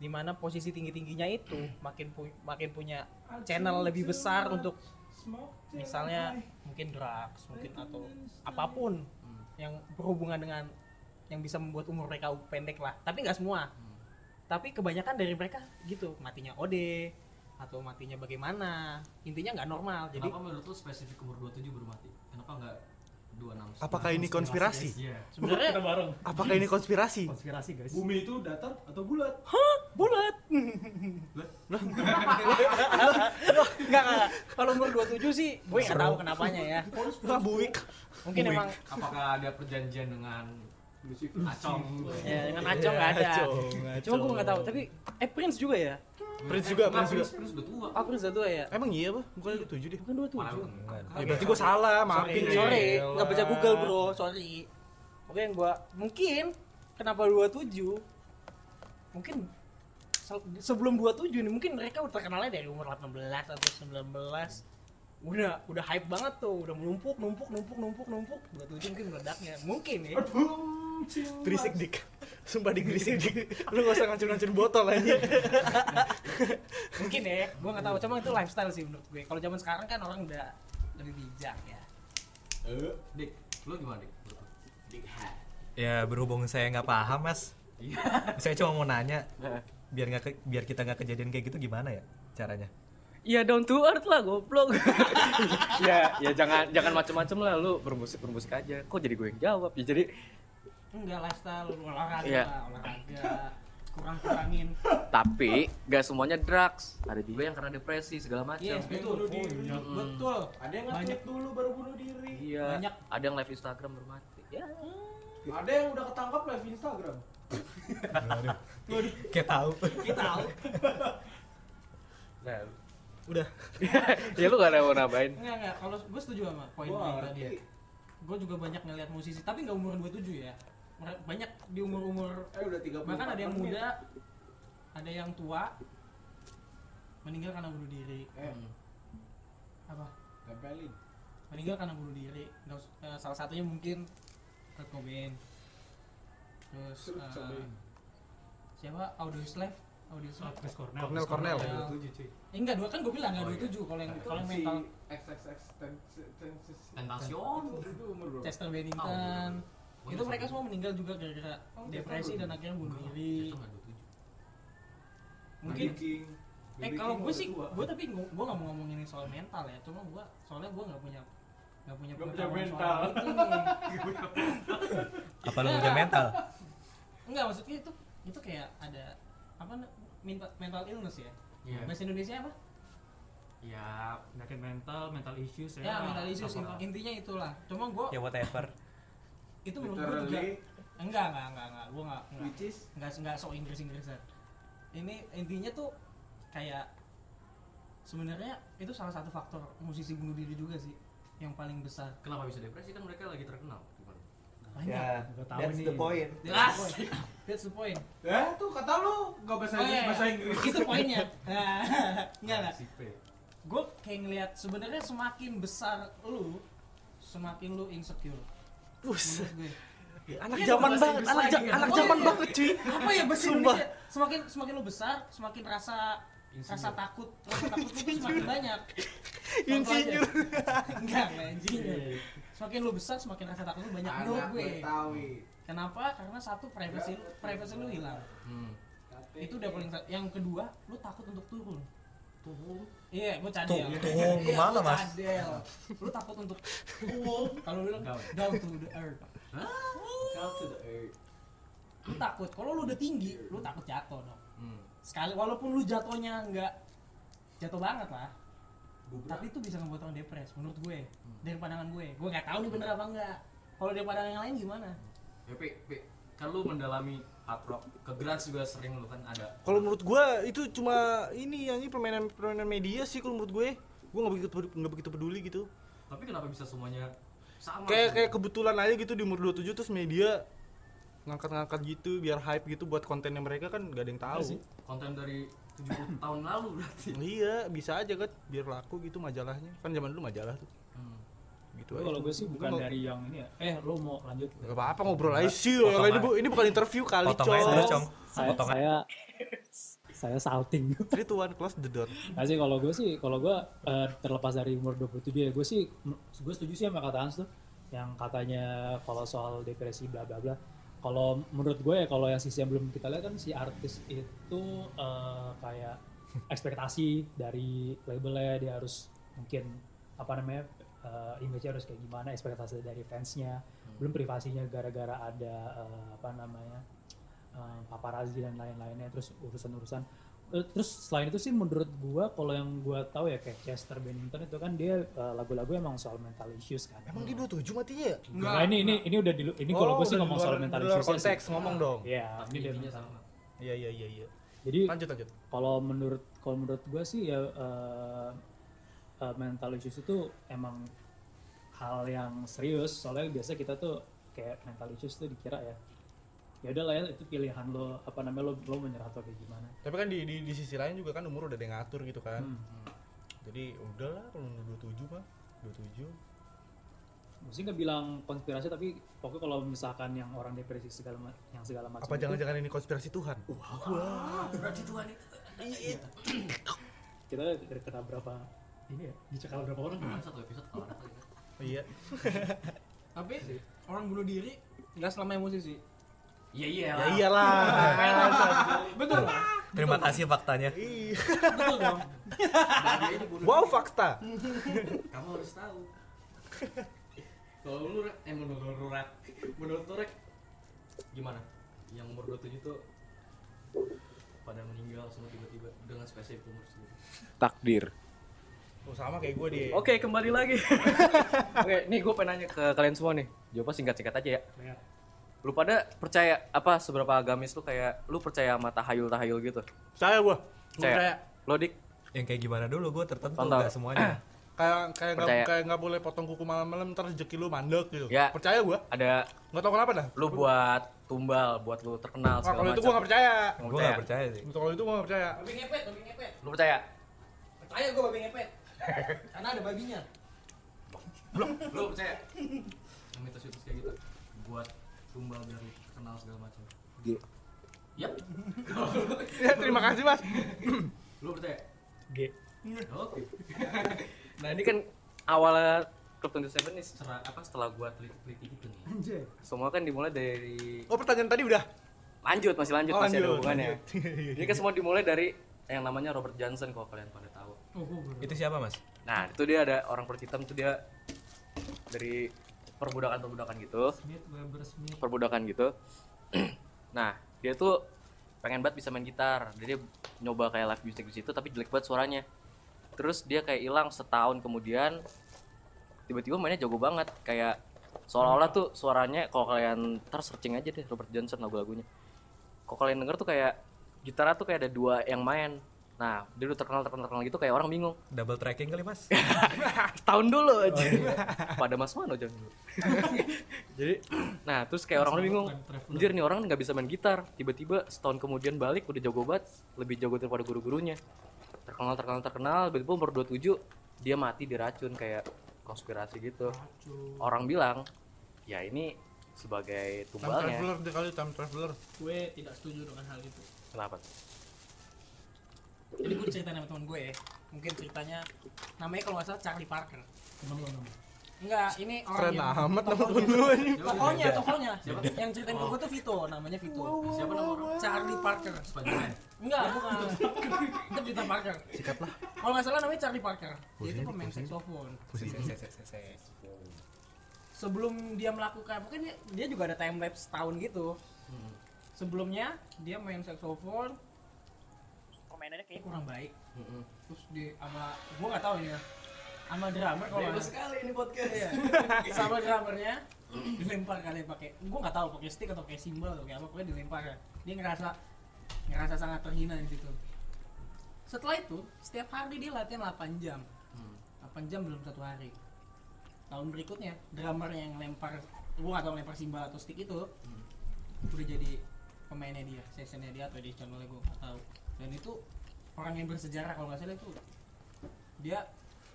Dimana posisi tinggi-tingginya itu makin pu- makin punya channel lebih besar untuk misalnya mungkin drugs, mungkin atau apapun yang berhubungan dengan yang bisa membuat umur mereka pendek lah. Tapi nggak semua. Hmm. Tapi kebanyakan dari mereka gitu, matinya OD atau matinya bagaimana. Intinya nggak normal. Jadi Kenapa menurut lu spesifik umur 27 baru mati? Kenapa nggak 26? Apakah ini konspirasi? Iya. sebenarnya kita bareng. Apakah ini konspirasi? Konspirasi guys. Bumi itu datar atau bulat? bulat. Enggak enggak. Kalau umur 27 sih gue nggak tahu kenapanya ya. Wah, buik. Mungkin emang Apakah ada perjanjian dengan Lucifer. Acong? ya, dengan Acong nggak ada. Acong, Cuma gue Acong. nggak tahu. Tapi eh Prince juga ya. Prince juga, Nggak, Prince juga. eh, Prince udah tua. Oh Prince udah tua ya. Emang iya, Pak? Bukan 27 deh. Bukan 27. Ya berarti gua salah, maafin. ya. Sorry, sorry. iya. Nggak baca Google bro. Sorry. Oke yang gue mungkin kenapa 27? Mungkin se- sebelum 27 nih mungkin mereka udah terkenalnya dari umur 18 atau 19 udah udah hype banget tuh udah menumpuk numpuk numpuk numpuk numpuk 27 mungkin meledaknya mungkin ya Berisik dik. Sumpah dik berisik dik. Lu gak usah ngancur-ngancur botol aja. mungkin ya gue nggak tahu cuma itu lifestyle sih menurut gue kalau zaman sekarang kan orang udah lebih bijak ya Dik, lu gimana Dik? Menurut lu? Ya berhubung saya nggak paham mas, Iya. saya cuma mau nanya biar nggak ke- biar kita nggak kejadian kayak gitu gimana ya caranya? ya down to earth lah goblok ya ya jangan jangan macem-macem lah lu bermusik bermusik aja kok jadi gue yang jawab ya jadi enggak lifestyle olahraga Iya. lah, olahraga kurang kurangin tapi gak semuanya drugs ada juga Gue yang karena depresi segala macam. yes betul bunuh diri. betul Ada yang ngetik dulu baru bunuh diri. Iya. Banyak. Ada yang live Instagram baru mati. Ya. Ada yang udah ketangkap live Instagram. Kayak tahu. kita tahu Nah, Udah. ya lu gak ada yang mau nambahin. enggak enggak kalau gue setuju sama poin Wah, lu tadi gue juga banyak ngeliat musisi tapi nggak umur 27 ya Mer- banyak di umur umur Eh udah 30. bahkan ada yang muda ada yang tua meninggal karena bunuh diri Eh, Iya. apa tempelin. meninggal karena bunuh diri Nggak us- eh, salah satunya mungkin Kurt Cobain terus Kurt eh, Cobain. siapa Audio Slave Audio Oh, Slave Chris Cornell. Cornell, Cornel. eh, enggak dua kan gue bilang enggak 27 kalau yang kalau yang Oh, iya. Nah, Si mental XXX Tentacion. itu umur berapa? Chester Oh, iya, Bennington bener-bener. Gua itu nyesel mereka dulu. semua Iya. meninggal juga gara-gara Oh, depresi Chester dan akhirnya bunuh Itu diri nggak 27. mungkin Baby King. eh Baby kalau King gue udah sih tua. gue tapi gue nggak mau ngomongin soal mental ya cuma gue soalnya gue nggak punya nggak punya Nggak punya pengetahuan soal mental. itu nih. Apa lu punya mental? Enggak, maksudnya itu itu kayak ada apa na- mental mental illness ya. Iya. Bahasa Indonesia apa? Ya, Penyakit mental, mental issues Iya. ya. Ya, mental issues Apa- intinya itulah. Cuma gua Ya whatever. itu menurut gua juga Literally enggak enggak enggak enggak gua enggak enggak which is enggak, enggak sok Inggris-Inggrisan. Ini intinya tuh kayak sebenarnya itu salah satu faktor musisi bunuh diri juga sih yang paling besar. kenapa bisa depresi kan mereka lagi terkenal. Gimana? banyak Ya, udah tahu that's nih the point. That's the point. That's the point. Ya tuh kata lu nggak bahasa Oh, Inggris, iya, iya. bahasa Inggris. Itu poinnya. Nah, Enggak enggak. Si P. Gue kayak ngeliat sebenarnya semakin besar lu, semakin lu insecure. Menurut gue. anak Iya, zaman bahasa banget, Inggris anak, lagi ja- ya. anak Oh, zaman iya. banget cuy. Apa ya bahasa Sumpah. Indonesia? Semakin semakin lu besar, semakin rasa rasa takut, rasa takut lu tuh semakin banyak. Contoh aja. Insinyur. Enggak, enggak insinyur. Semakin lu besar, semakin rasa takut lu banyak menurut Anak gue. Betawi. Kenapa? Karena satu privacy lu- privacy lu hilang. Hmm. itu udah paling sa- yang kedua lu takut untuk turun turun iya gue cadel Tuh, turun kemana, lu Mas? cadel lu takut untuk turun kalau lu bilang Down. down to the earth Down to the earth. lu takut kalau lu udah tinggi lu takut jatuh dong Hmm. sekali walaupun lu jatuhnya nggak jatuh banget lah Gua tapi itu bisa ngebuat orang depres menurut gue dari pandangan gue gue nggak tahu nih bener apa enggak kalau dari pandangan yang lain gimana Ya, Pi, Pi, kan lu mendalami hard rock. Ke Grans juga sering lu kan ada. Kalau menurut gua itu cuma ini yang ini permainan permainan media sih kalau menurut gue. Gua nggak begitu peduli, nggak begitu peduli gitu. Tapi kenapa bisa semuanya sama? Kayak sih? kayak kebetulan aja gitu di umur 27 terus media ngangkat-ngangkat gitu biar hype gitu buat kontennya mereka kan gak ada yang Iya tahu. konten dari 70 tahun lalu berarti. Iya, bisa aja kan biar laku gitu majalahnya. Kan zaman dulu majalah tuh. Hmm. Gitu Tapi aja. kalau tuh. gue sih Gua bukan mau- dari yang ini ya eh lu mau lanjut Gak apa-apa ngobrol aja sih. yang lain bu, ini bukan interview kali, Potong aja dulu, Cong. Cok. saya Potong aja. saya saya salting Three, two, one, close the door. Nah sih kalau gue sih, kalau gue eh, terlepas dari umur 27 ya, gue sih, gue setuju sih sama kata Hans tuh, yang katanya kalau soal depresi bla bla bla. Kalau menurut gue ya, kalau yang sisi yang belum kita lihat kan si artis itu eh, kayak ekspektasi dari labelnya dia harus mungkin apa namanya eh, image-nya harus kayak gimana, ekspektasi dari fansnya, belum privasinya gara-gara ada eh, apa namanya eh, paparazzi dan lain-lainnya, terus urusan-urusan Eh, terus selain itu sih menurut gua kalau yang gua tahu ya kayak Chester Bennington itu kan dia eh, lagu-lagu emang soal mental issues kan. Emang dia 27 matinya ya? Nah, ini ini ini udah di lu- ini Oh, kalau gua sih udah di ngomong luar- soal mental di luar issues konteks ngomong dong. Iya, Tapi ini dia. intinya sama. Iya, iya, iya, iya. Jadi Lanjut, lanjut. kalau menurut kalau menurut gua sih ya eh, eh, mental issues itu emang hal yang serius soalnya biasa kita tuh kayak mental issues tuh dikira ya ya udah lah ya itu pilihan lo apa namanya lo lo menyerah atau kayak gimana Tapi kan di, di, di sisi lain juga kan umur udah ada yang ngatur gitu kan. Hmm. Jadi udahlah kalau umur 27 mah 27. mesti nggak bilang konspirasi tapi pokoknya kalau misalkan yang orang depresi segala ma- yang segala macam Apa itu, jangan-jangan ini konspirasi Tuhan? Wah, kita kena berapa ini ya dicekal berapa orang Cuma Kan satu episode kalau kan? ada kali. iya. tapi orang bunuh diri nggak selama emosi sih Iya iya. Ya iyalah. betul Terima kasih faktanya. Iya. betul dong Nah, wow, fakta. Kamu harus tahu. Kalau lu Rek, eh menurut lu Rek, menurut lu Rek, gimana? Yang umur 27 tuh pada meninggal semua tiba-tiba dengan spesifik umur segitu. Takdir. Oh, sama kayak gue di Oke, kembali lagi. Oke, nih gue pengen nanya ke kalian semua nih. Jawabnya singkat-singkat aja ya. Lu pada percaya apa seberapa agamis lu kayak lu percaya sama tahayul-tahayul gitu? Saya gue. Percaya. Lo dik? Yang kayak gimana dulu gue tertentu Tonton. nggak semuanya. Kayak kayak nggak Percaya. kayak nggak boleh potong kuku malam-malam ntar rezeki lu mandek gitu. Ya. Percaya gue. Ada Nggak tau kenapa dah. lu buat tumbal, buat lu terkenal Nah, segala kalau itu gue macam. nggak percaya. Ah, Nggak gue ya. nggak percaya sih. Kalau itu gue nggak percaya. babi ngepet babi ngepet Lu percaya? percaya gue babi ngepet karena ada babinya Lu percaya? Yang mitos-mitos kayak gitu buat tumbal biar lu kenal segala macam. G. Yap, Ya, terima kasih mas. lu ya? Oh. percaya? G. Oke. Nah, ini kan awalnya Club 27 nih Setelah apa setelah gua teliti-teliti gitu nih? anjay semua kan dimulai dari Oh pertanyaan tadi udah. lanjut masih lanjut Oh, masih ada lanjut, hubungannya. lanjut. Iya, iya, Ini kan semua dimulai dari yang namanya Robert Johnson kalau kalian pada tahu. oh gue baru Itu siapa mas? Nah, itu dia ada orang kulit hitam itu dia dari perbudakan-perbudakan gitu, Smith Weber Smith perbudakan gitu. nah, dia tuh pengen banget bisa main gitar. Jadi dia nyoba kayak live music di situ tapi jelek banget suaranya. Terus dia kayak hilang setahun kemudian tiba-tiba mainnya jago banget kayak seolah-olah tuh suaranya kalau kalian ntar searching aja deh Robert Johnson lagu-lagunya. Kalau kalian denger tuh kayak gitar tuh kayak ada dua yang main. Nah, dia udah terkenal terkenal terkenal gitu kayak orang bingung. Double tracking kali mas? Tahun dulu Oh, aja. Pada Mas Mano jangan dulu. iya. Jadi Nah, terus kayak orang bingung. Anjir nih orang nggak bisa main gitar. Tiba-tiba setahun kemudian balik udah jago banget, lebih jago daripada guru-gurunya. Terkenal terkenal terkenal, tiba-tiba umur 27 dia mati diracun kayak konspirasi gitu. Orang bilang, "Ya ini sebagai time tumbalnya." traveler dia kali time traveler. gue tidak setuju dengan hal itu Kenapa? jadi gue ceritain sama teman gue ya mungkin ceritanya namanya kalau nggak salah Charlie Parker enggak ini orang Keren yang amat nama temen lu ini. tokohnya tokohnya yang ceritain ke gue tuh Vito namanya Vito Siapa nama orang? Charlie Parker Spiderman. enggak bukan itu Peter Parker Sikat lah. kalau nggak salah namanya Charlie Parker dia itu pemain saxophone sebelum dia melakukan mungkin dia, dia juga ada time lapse tahun gitu sebelumnya dia main saxophone permainannya kayaknya kurang baik terus di sama gua nggak tahu ini ya sama drummer kalau nggak salah. sekali ini podcast. Iya. sama drummernya dilempar kali pakai gua nggak tahu pakai stick atau pakai simbol atau kayak apa pokoknya dilempar ya dia ngerasa ngerasa sangat terhina di situ setelah itu setiap hari dia latihan 8 jam 8 jam dalam satu hari tahun berikutnya drummer yang lempar gua atau lempar simbal atau stick itu udah jadi pemainnya dia sessionnya dia atau di channelnya gua nggak tahu dan itu orang yang bersejarah kalau nggak salah itu dia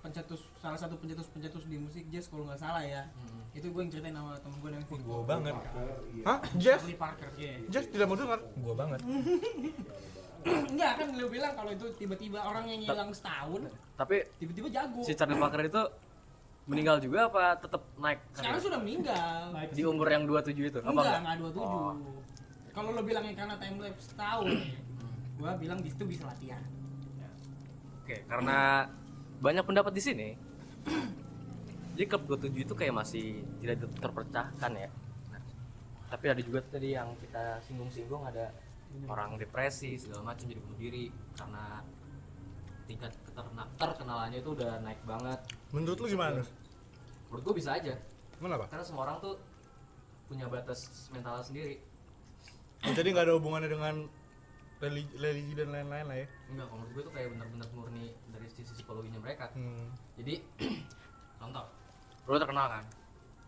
pencetus salah satu pencetus pencetus di musik jazz kalau nggak salah ya itu gue yang ceritain sama temen gue namanya Vito Gua banget. Hah? Jeff? Charlie Parker iya Jeff tidak mau dengar. Gua banget. enggak kan lu bilang kalau itu tiba-tiba orang yang hilang setahun Tapi tiba-tiba jago si Charlie Parker itu meninggal juga apa tetap naik sekarang sudah meninggal di umur yang 27 itu? Apa enggak, enggak? enggak 27 Oh. Kalau lo bilangnya karena time lapse setahun Gua bilang di situ bisa latihan Oke, karena banyak pendapat di sini. Jadi klub 27 itu kayak masih tidak terpecahkan ya. Nah, tapi ada juga tadi yang kita singgung-singgung ada orang depresi segala macam jadi bunuh diri karena tingkat keterna- terkenalannya itu udah naik banget. Menurut lu gimana? Menurut gua bisa aja Kenapa? karena semua orang tuh punya batas mentalnya sendiri. Oh, Jadi nggak ada hubungannya dengan religi, religi dan lain-lain lah ya. Enggak, kalau menurut gue itu kayak bener-bener murni dari sisi psikologinya mereka. Hmm. Jadi contoh, lo terkenal kan?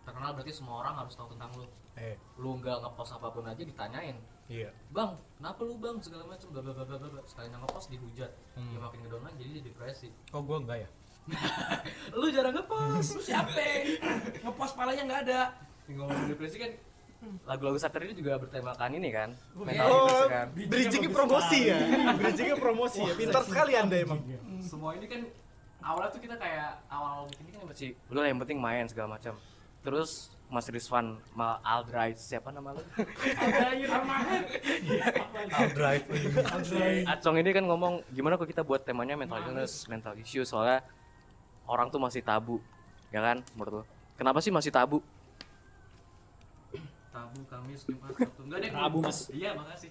Terkenal berarti semua orang harus tahu tentang lo. Eh, Lo nggak ngepost apapun aja ditanyain, iya. bang, kenapa lu bang segala macam bla bla bla bla bla, bla. Sekalinya ngepost dihujat, Hmm. dia makin ngedown lagi, jadi dia depresi. Kok gua enggak ya? Lu jarang ngepost. Lu siapa? Ngepost palanya nggak ada Yang ngomong depresi kan lagu-lagu satir ini juga bertemakan ini kan, mental Oh, gitu kan. bridgingnya promosi ya. Bridgingnya promosi ya. Pintar sekali anda emang. Iya, semua ini kan awalnya tuh kita kayak awal bikin ini kan masih lu yang penting main segala macam terus Mas Rizwan Mal Aldright siapa nama lu? I'll drive. Acong ini kan ngomong gimana kok kita buat temanya mental illness, mental issue soalnya orang tuh masih tabu, ya kan menurut lu? Kenapa sih masih tabu? Tabu Kamis Jumat Sabtu enggak deh. Rabu, Mas. Iya makasih.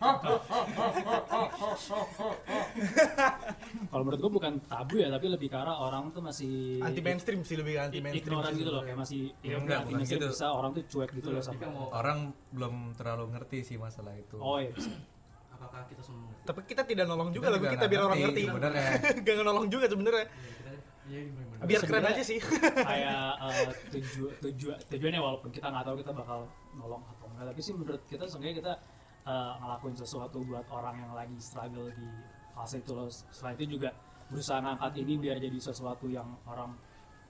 Kalau menurut gua bukan tabu ya, tapi lebih ke arah orang tuh masih Anti mainstream sih lebih ke anti mainstream. ignoran iya. gitu loh, kayak masih Ya ya, enggak, anti bukan mainstream gitu. bisa orang tuh cuek gitu loh Iya, sama. Orang belum terlalu ngerti sih masalah itu. Oh iya, bisa. Apakah kita semua Tapi kita tidak nolong juga lagu kita biar orang ngerti. Iya, Bener ya. Gak nolong juga sebenarnya. ya, kan Biar keren aja sih. kayak eh, tuju, tuju, tujuannya walaupun kita nggak tahu kita bakal nolong atau enggak tapi sih menurut kita seenggaknya kita eh, ngelakuin sesuatu buat orang yang lagi struggle di fase itu loh setelah itu juga berusaha ngangkat ini biar jadi sesuatu yang orang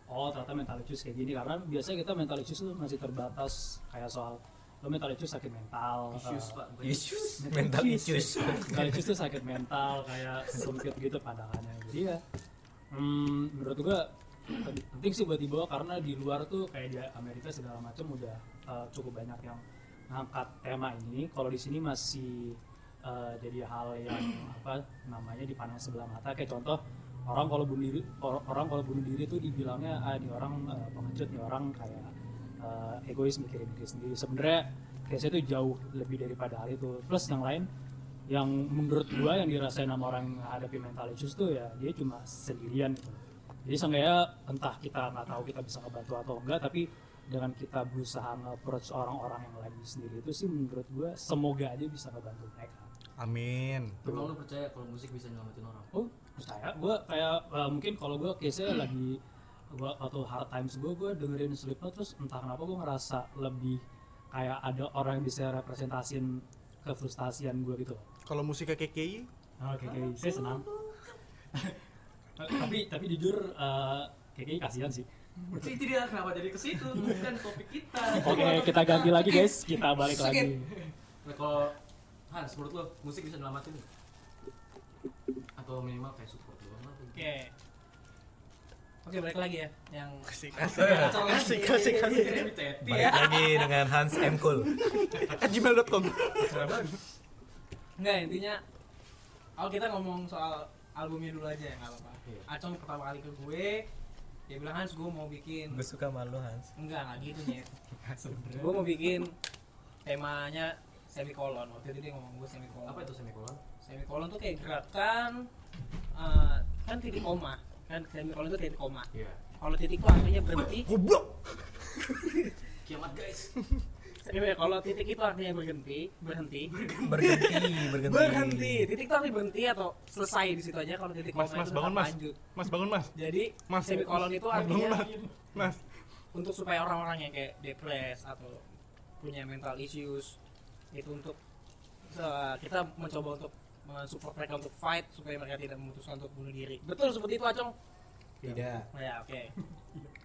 oh ternyata mental issues kayak gini karena biasanya kita mental issues tuh masih terbatas kayak soal lo mental issues sakit mental issues eh, Pak? Issues. Mental issues. Iya. mental issues tuh sakit mental kayak sempit gitu pandangannya jadi ya hmm, menurut gua penting sih buat dibawa karena di luar tuh kayak di Amerika segala macam udah uh, cukup banyak yang ngangkat tema ini kalau di sini masih uh, jadi hal yang apa namanya dipandang sebelah mata kayak contoh orang kalau bunuh diri or- orang kalau bunuh diri tuh dibilangnya ah di orang uh, pengecut di orang kayak uh, egois mikirin diri sendiri sebenarnya case itu jauh lebih daripada hal itu plus yang lain yang menurut gua yang dirasain sama orang yang hadapi mental issues tuh ya dia cuma sendirian gitu. Jadi seenggaknya entah kita nggak tahu kita bisa ngebantu atau enggak tapi dengan kita berusaha nge-approach orang-orang yang lagi sendiri itu sih menurut gua semoga aja bisa ngebantu mereka. Amin. Emang lu percaya kalau musik bisa nyelamatin orang? oh percaya gue kayak eh, mungkin kalau gue case lagi gue waktu hard times gue gue dengerin Slipknot terus entah kenapa gue ngerasa lebih kayak ada orang yang bisa representasiin kefrustasian gue gitu Kalau musiknya KKI, Oke, oke, Oh, saya senang. tapi tapi jujur eh KKI kasihan sih. Itu dia kenapa jadi ke situ, bukan topik kita. Oke, kita ganti lagi guys, kita balik lagi. Nah, kalau Hans, menurut lo musik bisa nyelamatin nggak? Atau minimal kayak support doang lah. Oke. Oke, balik lagi ya yang Iya, kasih kasih kasih kasih kasih. Iya. Balik lagi dengan Hans M. Kul. gmail.com. enggak intinya kalau kita ngomong soal albumnya dulu aja ya nggak apa-apa. Iya. Acong pertama kali ke gue dia bilang Hans gue mau bikin Gue suka malu Hans. enggak nggak gitu nih. gue mau bikin temanya semikolon waktu itu dia ngomong gue semikolon Apa itu semikolon? semikolon tuh kayak gerakan eh, kan titik koma kan semikolon tuh titik koma Iya. kalau titik itu artinya berhenti Kiamat guys. Anyway, kalau titik itu artinya berhenti, berhenti, Berganti, berganti. berhenti. Titik itu artinya berhenti atau selesai di situ aja. Kalau titik Mas koma mas itu bangun tetap mas. lanjut. Mas bangun mas. Jadi Mas, semikolon itu Mas, bangun, artinya Mas. Mas. untuk supaya orang-orang yang kayak depres atau punya mental issues itu untuk uh, kita mencoba untuk mensupport mereka untuk fight supaya mereka tidak memutuskan untuk bunuh diri. Betul seperti itu Acong. Tidak. Ya oke.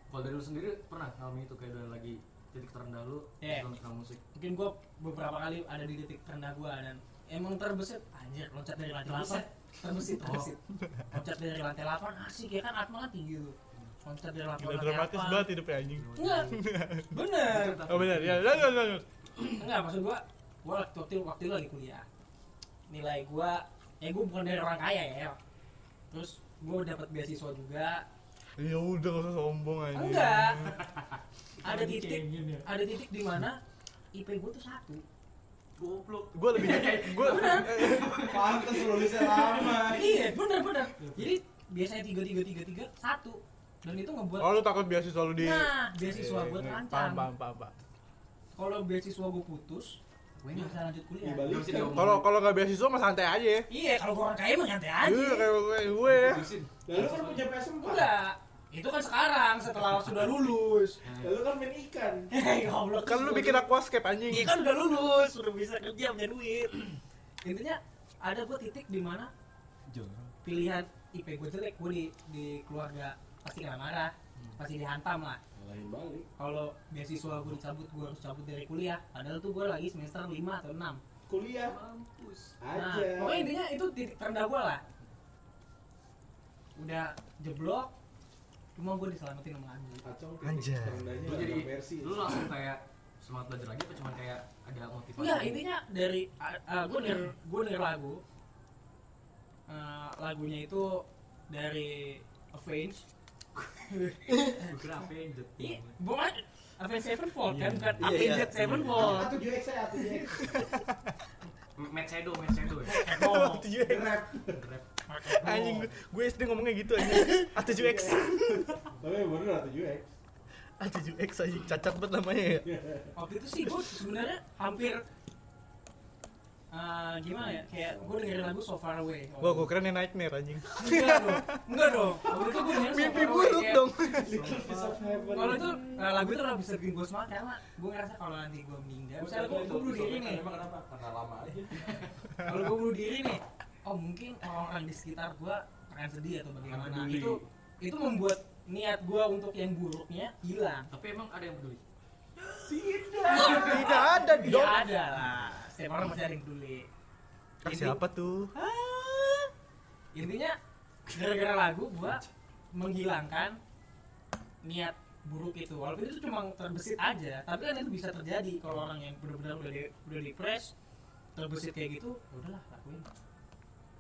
Kalau dari lu sendiri pernah ngalamin itu kayak udah lagi titik terendah lu Iya. dalam suka musik? Mungkin gue beberapa kali ada di titik terendah gue dan emang terbesit anjir loncat dari lantai Terbesit? delapan terbesit terbesit loncat dari lantai delapan asik ya kan atma kan tinggi tuh loncat dari lantai Gila lantai dramatis delapan. banget hidupnya anjing. enggak bener Oh benar ya. ya, ya, ya. enggak maksud gua gua waktu waktu itu, waktu itu lagi kuliah nilai gua ya gua bukan dari orang kaya ya terus gua dapat beasiswa juga Ya udah gak usah sombong anjing. enggak ada titik ada titik di mana IP gua tuh satu Goblok. Gue lebih gue Pantes lulusnya lama. iya bener bener jadi biasanya tiga tiga tiga tiga satu dan itu ngebuat Oh lu takut biasa selalu di nah beasiswa Iya, gue iya. Paham terancam paham paham. paham. kalau beasiswa gue putus gue nggak bisa lanjut kuliah Dibalik. Bisa diomongin. Kalau kalau nggak beasiswa mah santai aja ya. iya kalau gue orang kaya mah nyantai Iya aja kayak gue gue ya. Habisin. Lalu kan punya PS4. enggak itu kan sekarang setelah sudah lulus Lalu kan main ikan. Hei, goblok Kan lu bikin aquascape iya anjing. kan udah lulus udah bisa kerja punya duit intinya ada gue titik di mana pilihan IP gue jelek gue di di keluarga pasti kena marah pasti dihantam lah Lain Hmm. balik. kalau beasiswa gue dicabut gue harus cabut dari kuliah padahal tuh gue lagi semester 5 atau 6 Kuliah Mampus. nah pokoknya intinya itu titik terendah gue lah udah jeblok cuma gue diselamatin sama Anji Kacau Anjay. Terendahnya Lu jadi ada versi. lu langsung kayak semangat belajar lagi apa cuman kayak ada motivasi? enggak intinya dari gue denger gue denger lagu Eh, lagunya itu dari Avenge Gue apa ya, yang Iya, jeting. bukan Avenged Sevenfold kan, bukan Avenged Sevenfold. Satu UX saya, satu UX. Mad Shadow, Mad Shadow ya. Oh, Tujuh X. Rap. Anjing gue SD ngomongnya gitu anjing. A7X. Tapi bener satu UX. A7X anjing cacat banget namanya ya. waktu itu sih gue sebenarnya hampir eh, gimana ya kayak gue dengerin lagu So Far Away. Wah gue keren ya nightmare anjing. enggak dong, enggak dong. Waktu itu gue dengerin So Mimpi Far Away, buruk kayak- dong. Little piece of heaven. Iya. Kalau itu eh, lagu itu udah bisa bikin gue semangat karena gue ngerasa kalau nanti gue meninggal, misalnya gue bunuh diri nih, Emang kenapa? Karena lama aja. kalau gue bunuh diri nih oh mungkin orang-orang di sekitar gue akan sedih atau bagaimana Peduli. itu itu membuat niat gue untuk yang buruknya hilang Tapi emang ada yang peduli. Tidak ada ya Iya, Iya. dong. ada lah setiap orang masih ada yang peduli Ah, Siapa tuh? Ah. intinya gara-gara lagu gue menghilangkan niat buruk itu walaupun itu cuma terbesit aja tapi kan itu bisa terjadi kalau orang yang benar-benar udah di, udah depres terbesit kayak gitu ya udahlah lakuin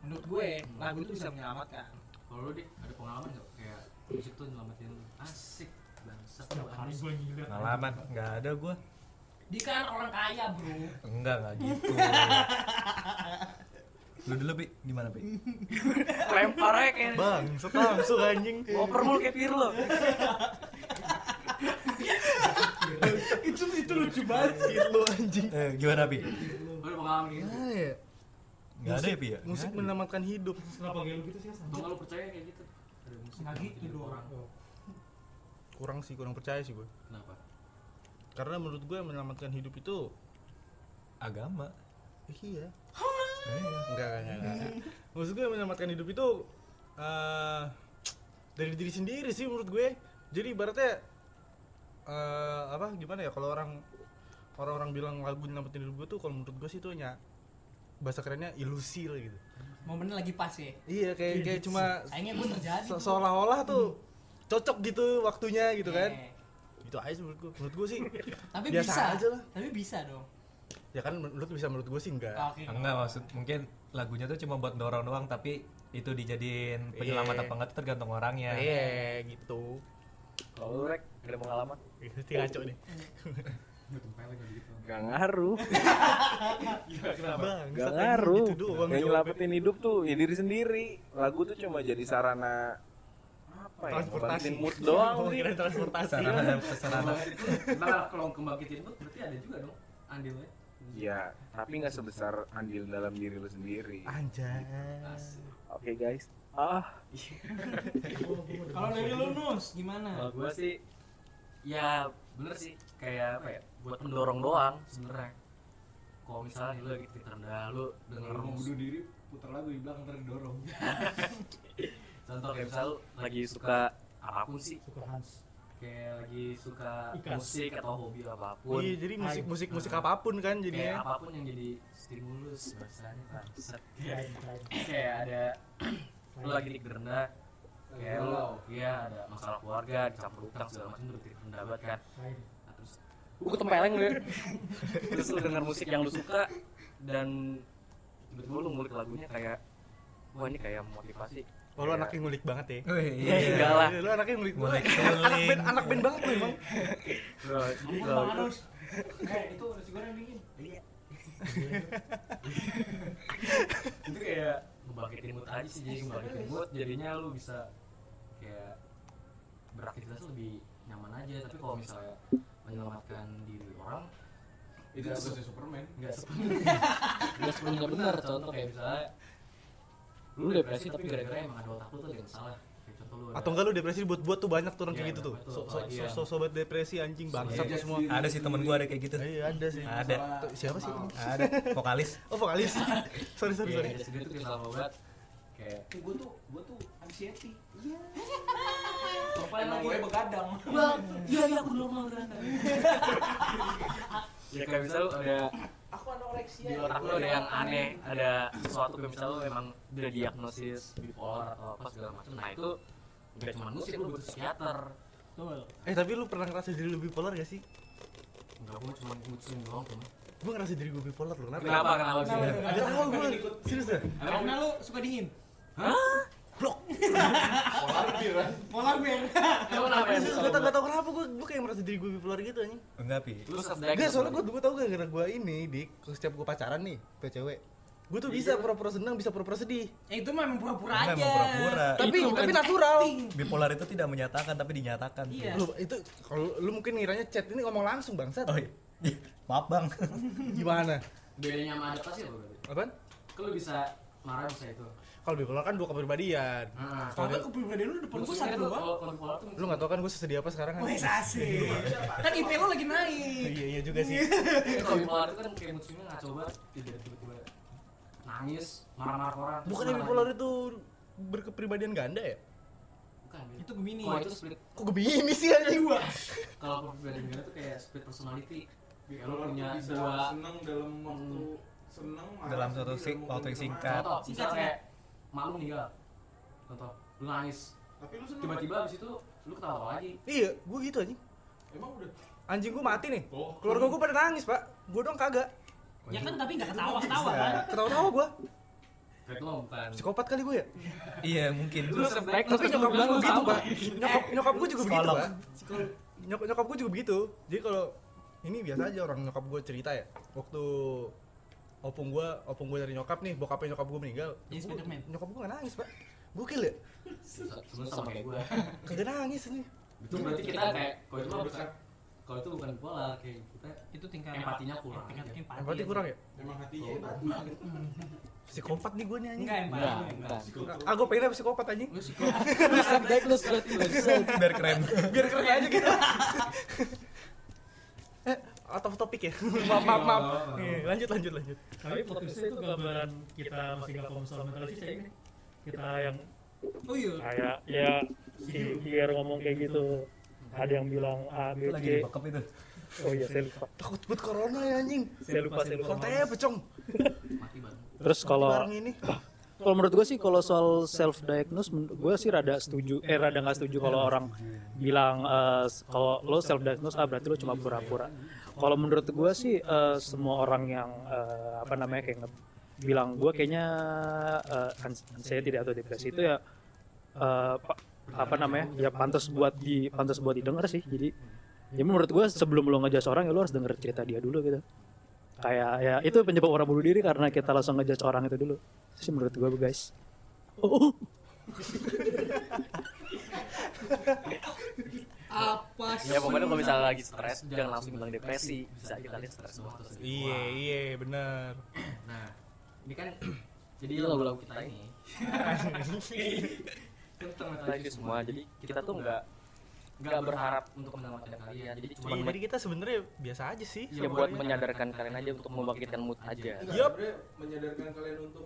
menurut gue lagu itu bisa menyelamatkan Kalau lu dik ada pengalaman nggak kayak musik tuh nyelamatin lu? asik bangsat lu anjing. Pengalaman nggak ada gue. Dia kan orang kaya bro Enggak enggak gitu. Lu dulu bi gimana bi? Lempar aja kayak Bang, langsung anjing. oper mulu Oh, kayak Pirlo. Itu itu lucu banget Gitu anjing. Eh, gimana bi? Lu ada pengalaman gitu? Ah, ya. Nggak ada ya, Pi, ya? Musik Nggak ada. menamatkan hidup. Kenapa gelo gitu sih? Bang kalau percaya kayak gitu. Nggak gitu dong. Kurang sih, kurang percaya sih gue. Kenapa? Karena menurut gue menamatkan hidup itu agama iya. Iya. Enggak, enggak, enggak. enggak. Maksud gue menyelamatkan hidup itu eh, dari diri sendiri sih menurut gue. Jadi ibaratnya eh, apa gimana ya kalau orang orang-orang bilang lagu nyelamatin hidup gue tuh kalau menurut gue sih itu hanya bahasa kerennya ilusi lah gitu. Momennya lagi pas ya. Iya kayak kayak cuma Sayangnya gue terjadi. se- seolah-olah Hmm. tuh cocok gitu waktunya gitu kan. Eh, Gitu aja sih menurut gue. Menurut gue sih Tapi Biasa bisa. aja lah. Tapi bisa dong. ya kan menurut bisa menurut gue sih enggak. Oke. enggak maksud mungkin lagunya tuh cuma buat dorong doang tapi itu dijadiin penyelamat Iya. apa enggak tuh tergantung orangnya Iya gitu. Kalau lu rek, ada pengalaman? Pasti ngaco nih. gitu. Gak ngaruh, Bang, gak saat lagi ngaruh. Gitu doang Yang jawabnya. nyelamatin hidup tuh ya diri sendiri. Lagu tuh cuma jadi sarana apa ya? transportasi ngebangkitin mood doang sih. Kira transportasi sarana sarana Nah, kalau kembangkitin mood berarti ada juga dong andilnya. Iya, tapi nggak sebesar andil dalam diri lu sendiri. Ah. anjay Nah. Oke guys. Ah, Kalau dari lu Nus gimana? Kalau gue sih ya bener sih kayak apa ya buat pendorong doang sebenarnya. Kalau misalnya lu lagi titik rendah lu denger musik diri, putar lagu di belakang ntar didorong. contoh kayak misalnya lu lagi suka apapun sih Suka Hans. kayak lagi suka Ikan. musik atau hobi apapun iya jadi musik musik musik apapun kan Iya. kayak jadinya apapun yang jadi stimulus bahasanya bangsat Iya. Kirain, kirain. kayak ada lu lagi titik rendah kayak lu ya ada masalah keluarga dicampur utang segala macam lu titik rendah banget kan Kirain. Nah, terus gue ketempeleng lu ya terus lu denger musik yang lu suka dan tiba-tiba lu ngulik lagunya kayak wah ini kayak motivasi oh lu Iya. anaknya ngulik banget ya Wih, ya enggak lah lu anaknya ngulik Oh, iya. banget Ngulik, anak keliling. band anak band banget lu emang Bro, jadi Ampun kalau Bang itu- Anus. Eh itu nasi goreng dingin. itu kayak ngebangkitin mood aja sih jadi ngebangkitin mood jadinya lu bisa kayak beraktivitas lebih nyaman aja tapi kalau misalnya menyelamatkan diri orang Itu Nggak seperti Superman. nggak sepenuhnya nggak sepenuhnya benar contoh kayak misalnya lu depresi tapi gara-gara emang ada otak lu tuh ada yang salah kayak contoh lu ada- atau enggak lu depresi buat buat tuh banyak turun Iya, kayak gitu tuh betul. so, so, Iya. so- sobat depresi anjing bangsat Iya. semua ada sih temen gua ada kayak gitu iya ada sih Ada. Tuh, siapa sih ada vokalis oh vokalis sorry sorry Iya, sorry jadi sendiri tuh kayak salah obat kayak Iya. Gue tuh, gue tuh anxiety. Emang Emang gue gue- begadang. iya iya aku normal ternyata ya kayak misal ada Aku anoreksia. di Iya. otak Iya, lu ada yang aneh ada sesuatu kayak misal lu emang udah diagnosis bipolar atau apa segala macam nah itu nggak cuma musik lu butuh psikiater Betul. eh tapi lu pernah ngerasa diri lu bipolar gak sih nggak gua cuma ngucing doang cuma gue ngerasa diri gue bipolar lu kenapa kenapa kenapa sih Gak tau gue serius dah Karena lu suka dingin. hah Polar bear. Emang kenapa ya? Serius, gak tau gak tau kenapa gue gue kayak merasa diri gue bipolar gitu anjing enggak pi lu Gak, soalnya gue gue tau gak gara gue ini di setiap gue pacaran nih ke cewek gue tuh Iya. bisa pura-pura seneng bisa pura-pura sedih Ya itu memang pura-pura Enggak, aja. Iya, emang pura-pura kan tapi tapi natural bipolar itu tidak menyatakan tapi dinyatakan Pi. Iya. lu itu kalau lu mungkin ngiranya chat ini ngomong langsung bangsat oh iya. maaf bang gimana bedanya sama adaptasi apa berarti apaan kan lu bisa marah bisa itu kalau bipolar kan dua kepribadian Nah, Kalau nggak kepribadian lu depan gua musuhnya tuh satu doang. kalau kalau bipolar tuh lu gak tau kan gue sesedih apa sekarang kan Wes asik. Kan IP lu lagi naik. iya iya juga sih kalau bipolar itu kan kayak musuhnya nggak coba tidak tiba-tiba nangis marah-marah ke orang terus bukannya marah bipolar lagi. itu berkepribadian ganda ya bukan Bin. Itu Gemini. kalau itu split kok gue begini sih anjing Dua. kalau perbedaan gender tuh kayak split personality kayak lu Kalau punya punya bisa dua Hmm. seneng dalam waktu seneng marah Dalam suatu sedih, sing- dalam waktu yang marah. singkat. contoh Singkat, misalnya kayak mak lu meninggal contoh lu nangis Tapi lu seneng. tiba-tiba abis itu lu ketawa lagi iya gue gitu anjing Emang udah. anjing gue mati nih Oh. keluarga gue pada nangis pak gue dong kagak Ya kan tapi nggak ketawa-ketawa kan. ketawa-tawa gue kayak lu bukan psikopat kali gue ya iya mungkin lu self tapi nyokap gue gitu, begitu pak nyokap nyokap gue juga begitu Psikolog. pak Nyok- nyokap gue juga begitu jadi kalau ini biasa aja orang nyokap gue cerita ya waktu opung gue opung gue dari nyokap nih bokapnya nyokap gue meninggal Jadi Nyokap gua- Spiderman. nyokap gue gak nangis pak gokil ya sebelum sama kayak gue kagak nangis ini itu berarti kita kayak kalau itu mah bukan kalau itu bukan pola kayak kita itu tingkat Empatinya kurang tingkat aja. empati Empati aja. kurang ya? memang hatinya Psikopat nih gue nih anjing. enggak empati Enggak, enggak. Ah gue pengennya psikopat anjing. lu psikopat Baik lu surat lu. Biar keren. Biar keren aja gitu. eh, out of topic ya. maaf, maaf, maaf. Iya, lanjut, lanjut, lanjut. Tapi podcastnya itu gambaran kita masih nggak paham soal mental health ya, ini. Kita yang oh iya kayak ya si Pierre ngomong kayak gitu. Ada yang bilang A, B, C. itu. Oh iya, saya lupa. Takut buat corona ya anjing. Saya lupa, saya lupa. Kontaknya apa, Cong? Terus kalau Barang ini. kalau menurut gue sih kalau soal self diagnose gue sih rada setuju eh rada nggak setuju kalau orang bilang eh, s- kalau lo self diagnose ah berarti lo cuma pura-pura kalau menurut gue sih eh, semua orang yang eh, apa namanya kayak nge- bilang gue kayaknya eh, ans- anxiety atau depresi itu ya eh, pa- apa namanya ya pantas buat di pantas buat didengar sih jadi ya menurut gue sebelum lo ngejudge orang ya lo harus denger cerita dia dulu gitu kayak ya itu penyebab orang bunuh diri karena kita langsung ngejudge orang itu dulu Itu sih menurut gue guys oh, oh. apa sih ya pokoknya kalau misalnya lagi stres jangan langsung bilang depresi bisa aja kalian stres doang Iya, iya, bener. Nah, ini kan jadi lagu-lagu kita ini ini kita itu semua jadi kita tuh nggak Iya, ya nggak berharap untuk menyelamatkan kalian jadi cuma Iya, jadi kita sebenarnya biasa aja sih. ya buat menyadarkan kalian aja untuk membangkitkan mood aja Iya. Yup. menyadarkan kalian untuk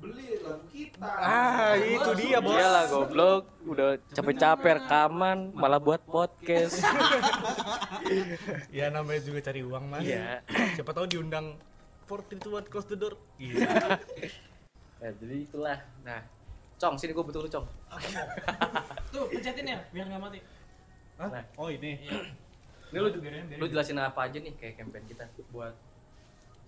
beli lagu kita Ah, itu dia, Bos. iyalah goblok udah capek-capek rekaman malah buat podcast Ya namanya juga cari uang, Mas. Iya. Siapa tahu diundang 431 close the door. ya jadi itulah nah Cong, sini gue betul lu, Cong. tuh pencetin ya biar nggak mati Oh, ini. Ini lu, lu jelasin apa aja nih kayak campaign kita buat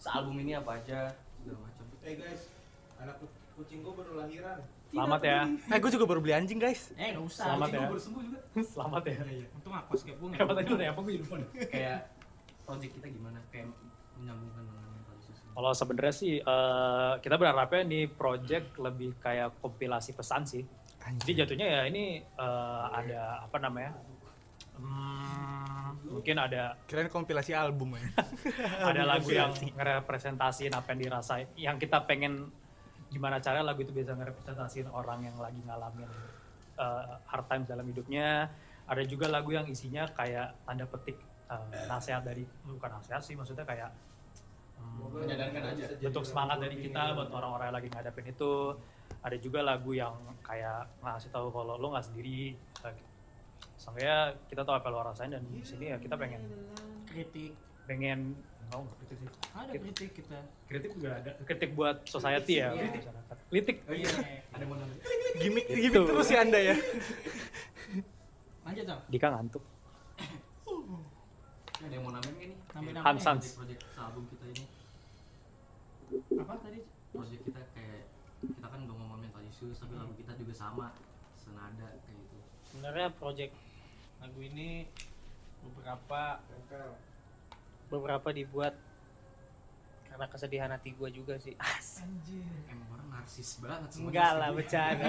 sealbum ini apa aja segala macam. eh guys anak kucing gue baru lahiran Selamat ya. Eh, gue juga baru beli anjing, guys. eh nggak usah Selamat Anjing, ya. gua baru sembuh juga Selamat ya. untung aku skip gue Kayak tadi lu nanya apa gue jadi lupa nih. kayak project kita gimana kayak menyambungkan dengan mental health Kalau sebenarnya sih eh, kita berharapnya nih project lebih kayak kompilasi pesan sih. Jadi jatuhnya ya ini eh, ada apa namanya? Hmm, mungkin ada Kirain kompilasi album ya. ada lagu yang ngerepresentasiin apa yang dirasain, yang kita pengen gimana cara lagu itu bisa ngerepresentasiin orang yang lagi ngalamin eh, hard times dalam hidupnya. Ada juga lagu yang isinya kayak tanda petik eh, nasihat dari bukan nasihat sih maksudnya kayak hmm, menyadarkan aja bentuk semangat dari kita buat orang-orang yang lagi ngadepin itu ada juga lagu yang kayak ngasih tahu kalau lo nggak sendiri Sangkanya kita tahu apa yang lo rasain dan di sini ya kita pengen kritik pengen oh, nggak kritik sih. ada kritik kita kritik juga ada kritik buat society ya buat masyarakat kritik Oh iya. gimik gimik terus sih Anda ya. lanjut dong Dika ngantuk Ada yang mau nambahin nggak nih? Iya. Nambahin Kayak apa? Hansans project album kita ini, apa tadi project kita kayak kita kan udah ngomong mental issues tapi lagu kita juga sama senada kayak gitu. sebenarnya project lagu ini beberapa beberapa dibuat karena kesedihan hati gue juga sih Emang orang narsis banget semua. enggak lah bercanda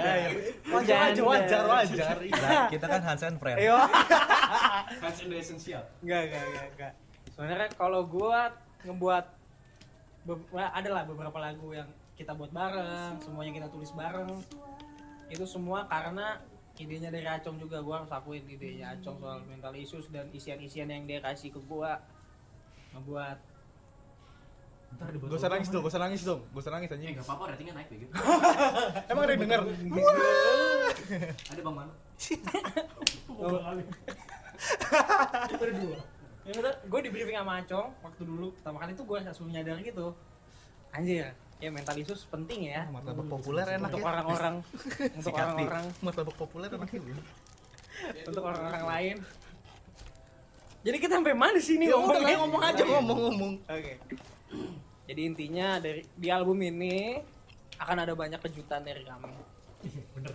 Wajar aja, wajar, wajar. Lah, kita kan Hans and Friend. Iya. ayo kan sudah esensial enggak enggak enggak enggak sebenarnya kalau gue ngebuat be- adalah beberapa lagu yang kita buat bareng semuanya kita tulis bareng itu semua karena idenya dari Acong juga gue harus akuin idenya Acong soal mental issues dan isian-isian yang dia kasih ke gue ngebuat Gak usah nangis dong, gak usah nangis dong. Gak usah nangis Eh anjing. nggak apa-apa ratingnya naik gitu. begitu. Emang ada yang denger? Ada bang Manu. Ya udah, gue di briefing sama Acong waktu dulu pertama kali tuh gue langsung nyadar gitu. Anjir, ya mental issues penting ya. Martabak populer enak Untuk ya. orang-orang, untuk orang-orang, Martabak populer enak ya. untuk orang-orang lain. Jadi kita sampai mana sih ini Ya udah lah, ngomongnya? ngomong aja ngomong-ngomong. Oke. Jadi intinya dari di album ini akan ada banyak kejutan dari kami.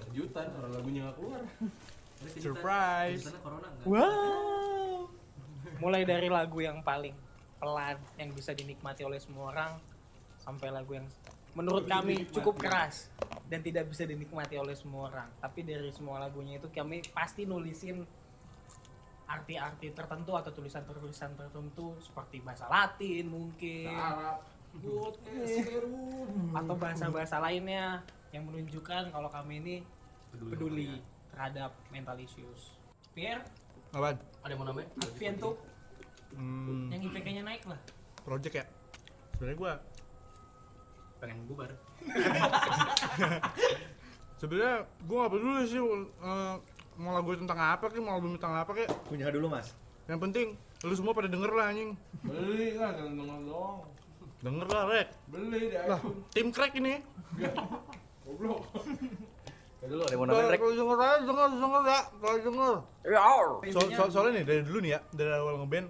kejutan orang lagunya nggak keluar Surprise. Karena corona nggak. Wow. Mulai dari lagu yang paling pelan yang bisa dinikmati oleh semua orang sampai lagu yang menurut kami cukup keras dan tidak bisa dinikmati oleh semua orang. Tapi dari semua lagunya itu kami pasti nulisin arti-arti tertentu atau tulisan-tulisan tertentu seperti bahasa Latin mungkin Nah, atau bahasa-bahasa lainnya yang menunjukkan kalau kami ini peduli, terhadap mental issues. Pierre, Apaan? Ada yang mau nambahin? Adviento Hmm, yang IPK-nya naik lah. project ya? Sebenarnya gua Pengen bubar. sebenarnya gua nggak peduli sih eh, mau lagu tentang apa kayak mau album tentang apa kayak Punya dulu mas. yang penting lu semua pada denger lah anjing Beli lah, jangan denger doang. denger lah rek Beli deh. lah tim crack ini Goblok. Ya dulu ada yang mau nambahin Rek? kalau denger aja denger denger ya kalau denger so, so, soalnya nih dari dulu nih ya dari awal ngeband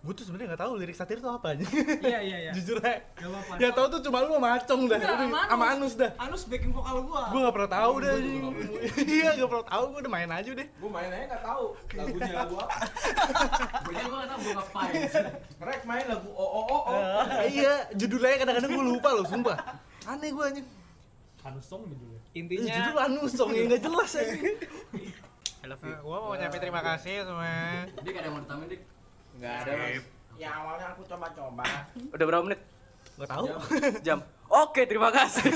gue tuh sebenarnya nggak tahu lirik satir itu apa aja Iya iya iya. jujur aja Gak apa-apa. yang tahu tuh cuma lu sama Acong dah Enggak, sama sama Anus. Anus dah Anus backing vokal gua. gue nggak pernah tahu deh anjing. iya nggak pernah tahu gue udah main aja deh Gue main aja gak tau lagunya lagu apa. Gue juga gak tau gue ngapain. Rek main lagu oh oh oh oh. Eh, iya judulnya kadang-kadang gue lupa loh sumpah aneh gue anjing Hanus Song judulnya. Eh, Intinya judul Anus dong yang nggak jelas anjing I love you. gue mau nyampe terima kasih semua Dia gak ada yang mau ditambahin Dik. Enggak ada. Ya awalnya aku coba-coba. Udah berapa menit? Gak tahu. Jam. Oke, terima kasih.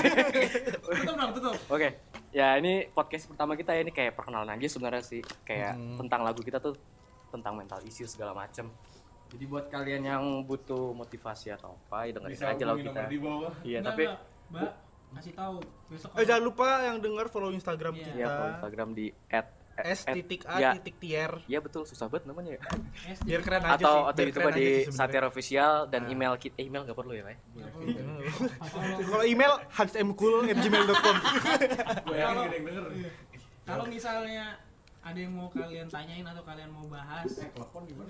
tutup dong, tutup. Oke. Ya, ini podcast pertama kita ya. Ini kayak perkenalan aja sebenarnya sih. Kayak Hmm. tentang lagu kita tuh tentang mental issue segala macem. Jadi buat kalian yang butuh motivasi atau apa, ya dengerin aja lagu kita. bawah. Iya, Enggak, tapi enggak. Mbak, kasih tahu besok. Eh jangan lupa yang dengar follow Instagram Iya. ya follow kita. Instagram di at, at- S at- titik ya. A titik tier. Iya betul, susah banget namanya ya. Eh, Biar keren aja sih. atau atau biar itu keren aja di sih sebenarnya. Nah. Satir official dan email kita eh, email nggak perlu ya, Pak. ya? Kalau email hansmkul@gmail.com. Gue yakin gak ada yang denger. Kalau misalnya ada yang mau kalian tanyain atau kalian mau bahas,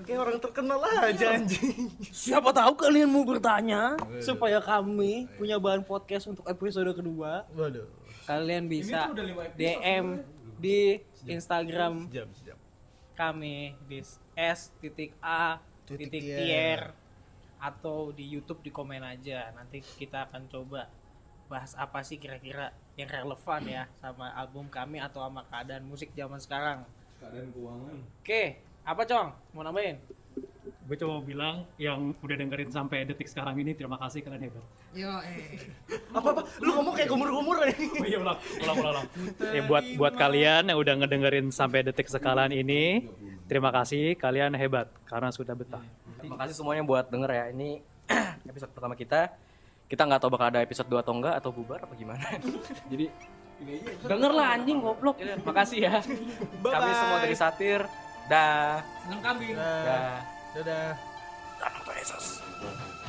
Kayak orang terkenal aja Iya. anjing. Siapa tahu kalian mau bertanya supaya kami punya bahan podcast untuk episode kedua. Waduh. kalian bisa tuh udah lima episode, DM di Instagram Sejam sejam. kami di s titik a Titik titik tier. tier atau di YouTube di komen aja nanti kita akan coba bahas apa sih kira-kira yang relevan ya sama album kami atau sama keadaan musik zaman sekarang Keadaan keuangan. oke apa cong mau nambahin Gue cuma mau bilang yang udah dengerin sampai detik sekarang ini terima kasih ya, kalian hebat. yo eh Apa apa? Lu ngomong kayak kumur-kumur anjing. Oh iya ulang, ulang, ulang, ulang. Ya buat buat kalian yang udah ngedengerin sampai detik sekalan ini, terima kasih kalian hebat karena sudah betah. Terima kasih semuanya buat denger ya. Ini episode pertama kita. Kita nggak tahu bakal ada episode 2 atau enggak atau bubar apa gimana. Jadi dengerlah anjing goblok. Iya. Ya, Makasih ya. Kami semua dari Satir. Dah. seneng kambing Dah. Dadah. Dalam Tuhan Yesus.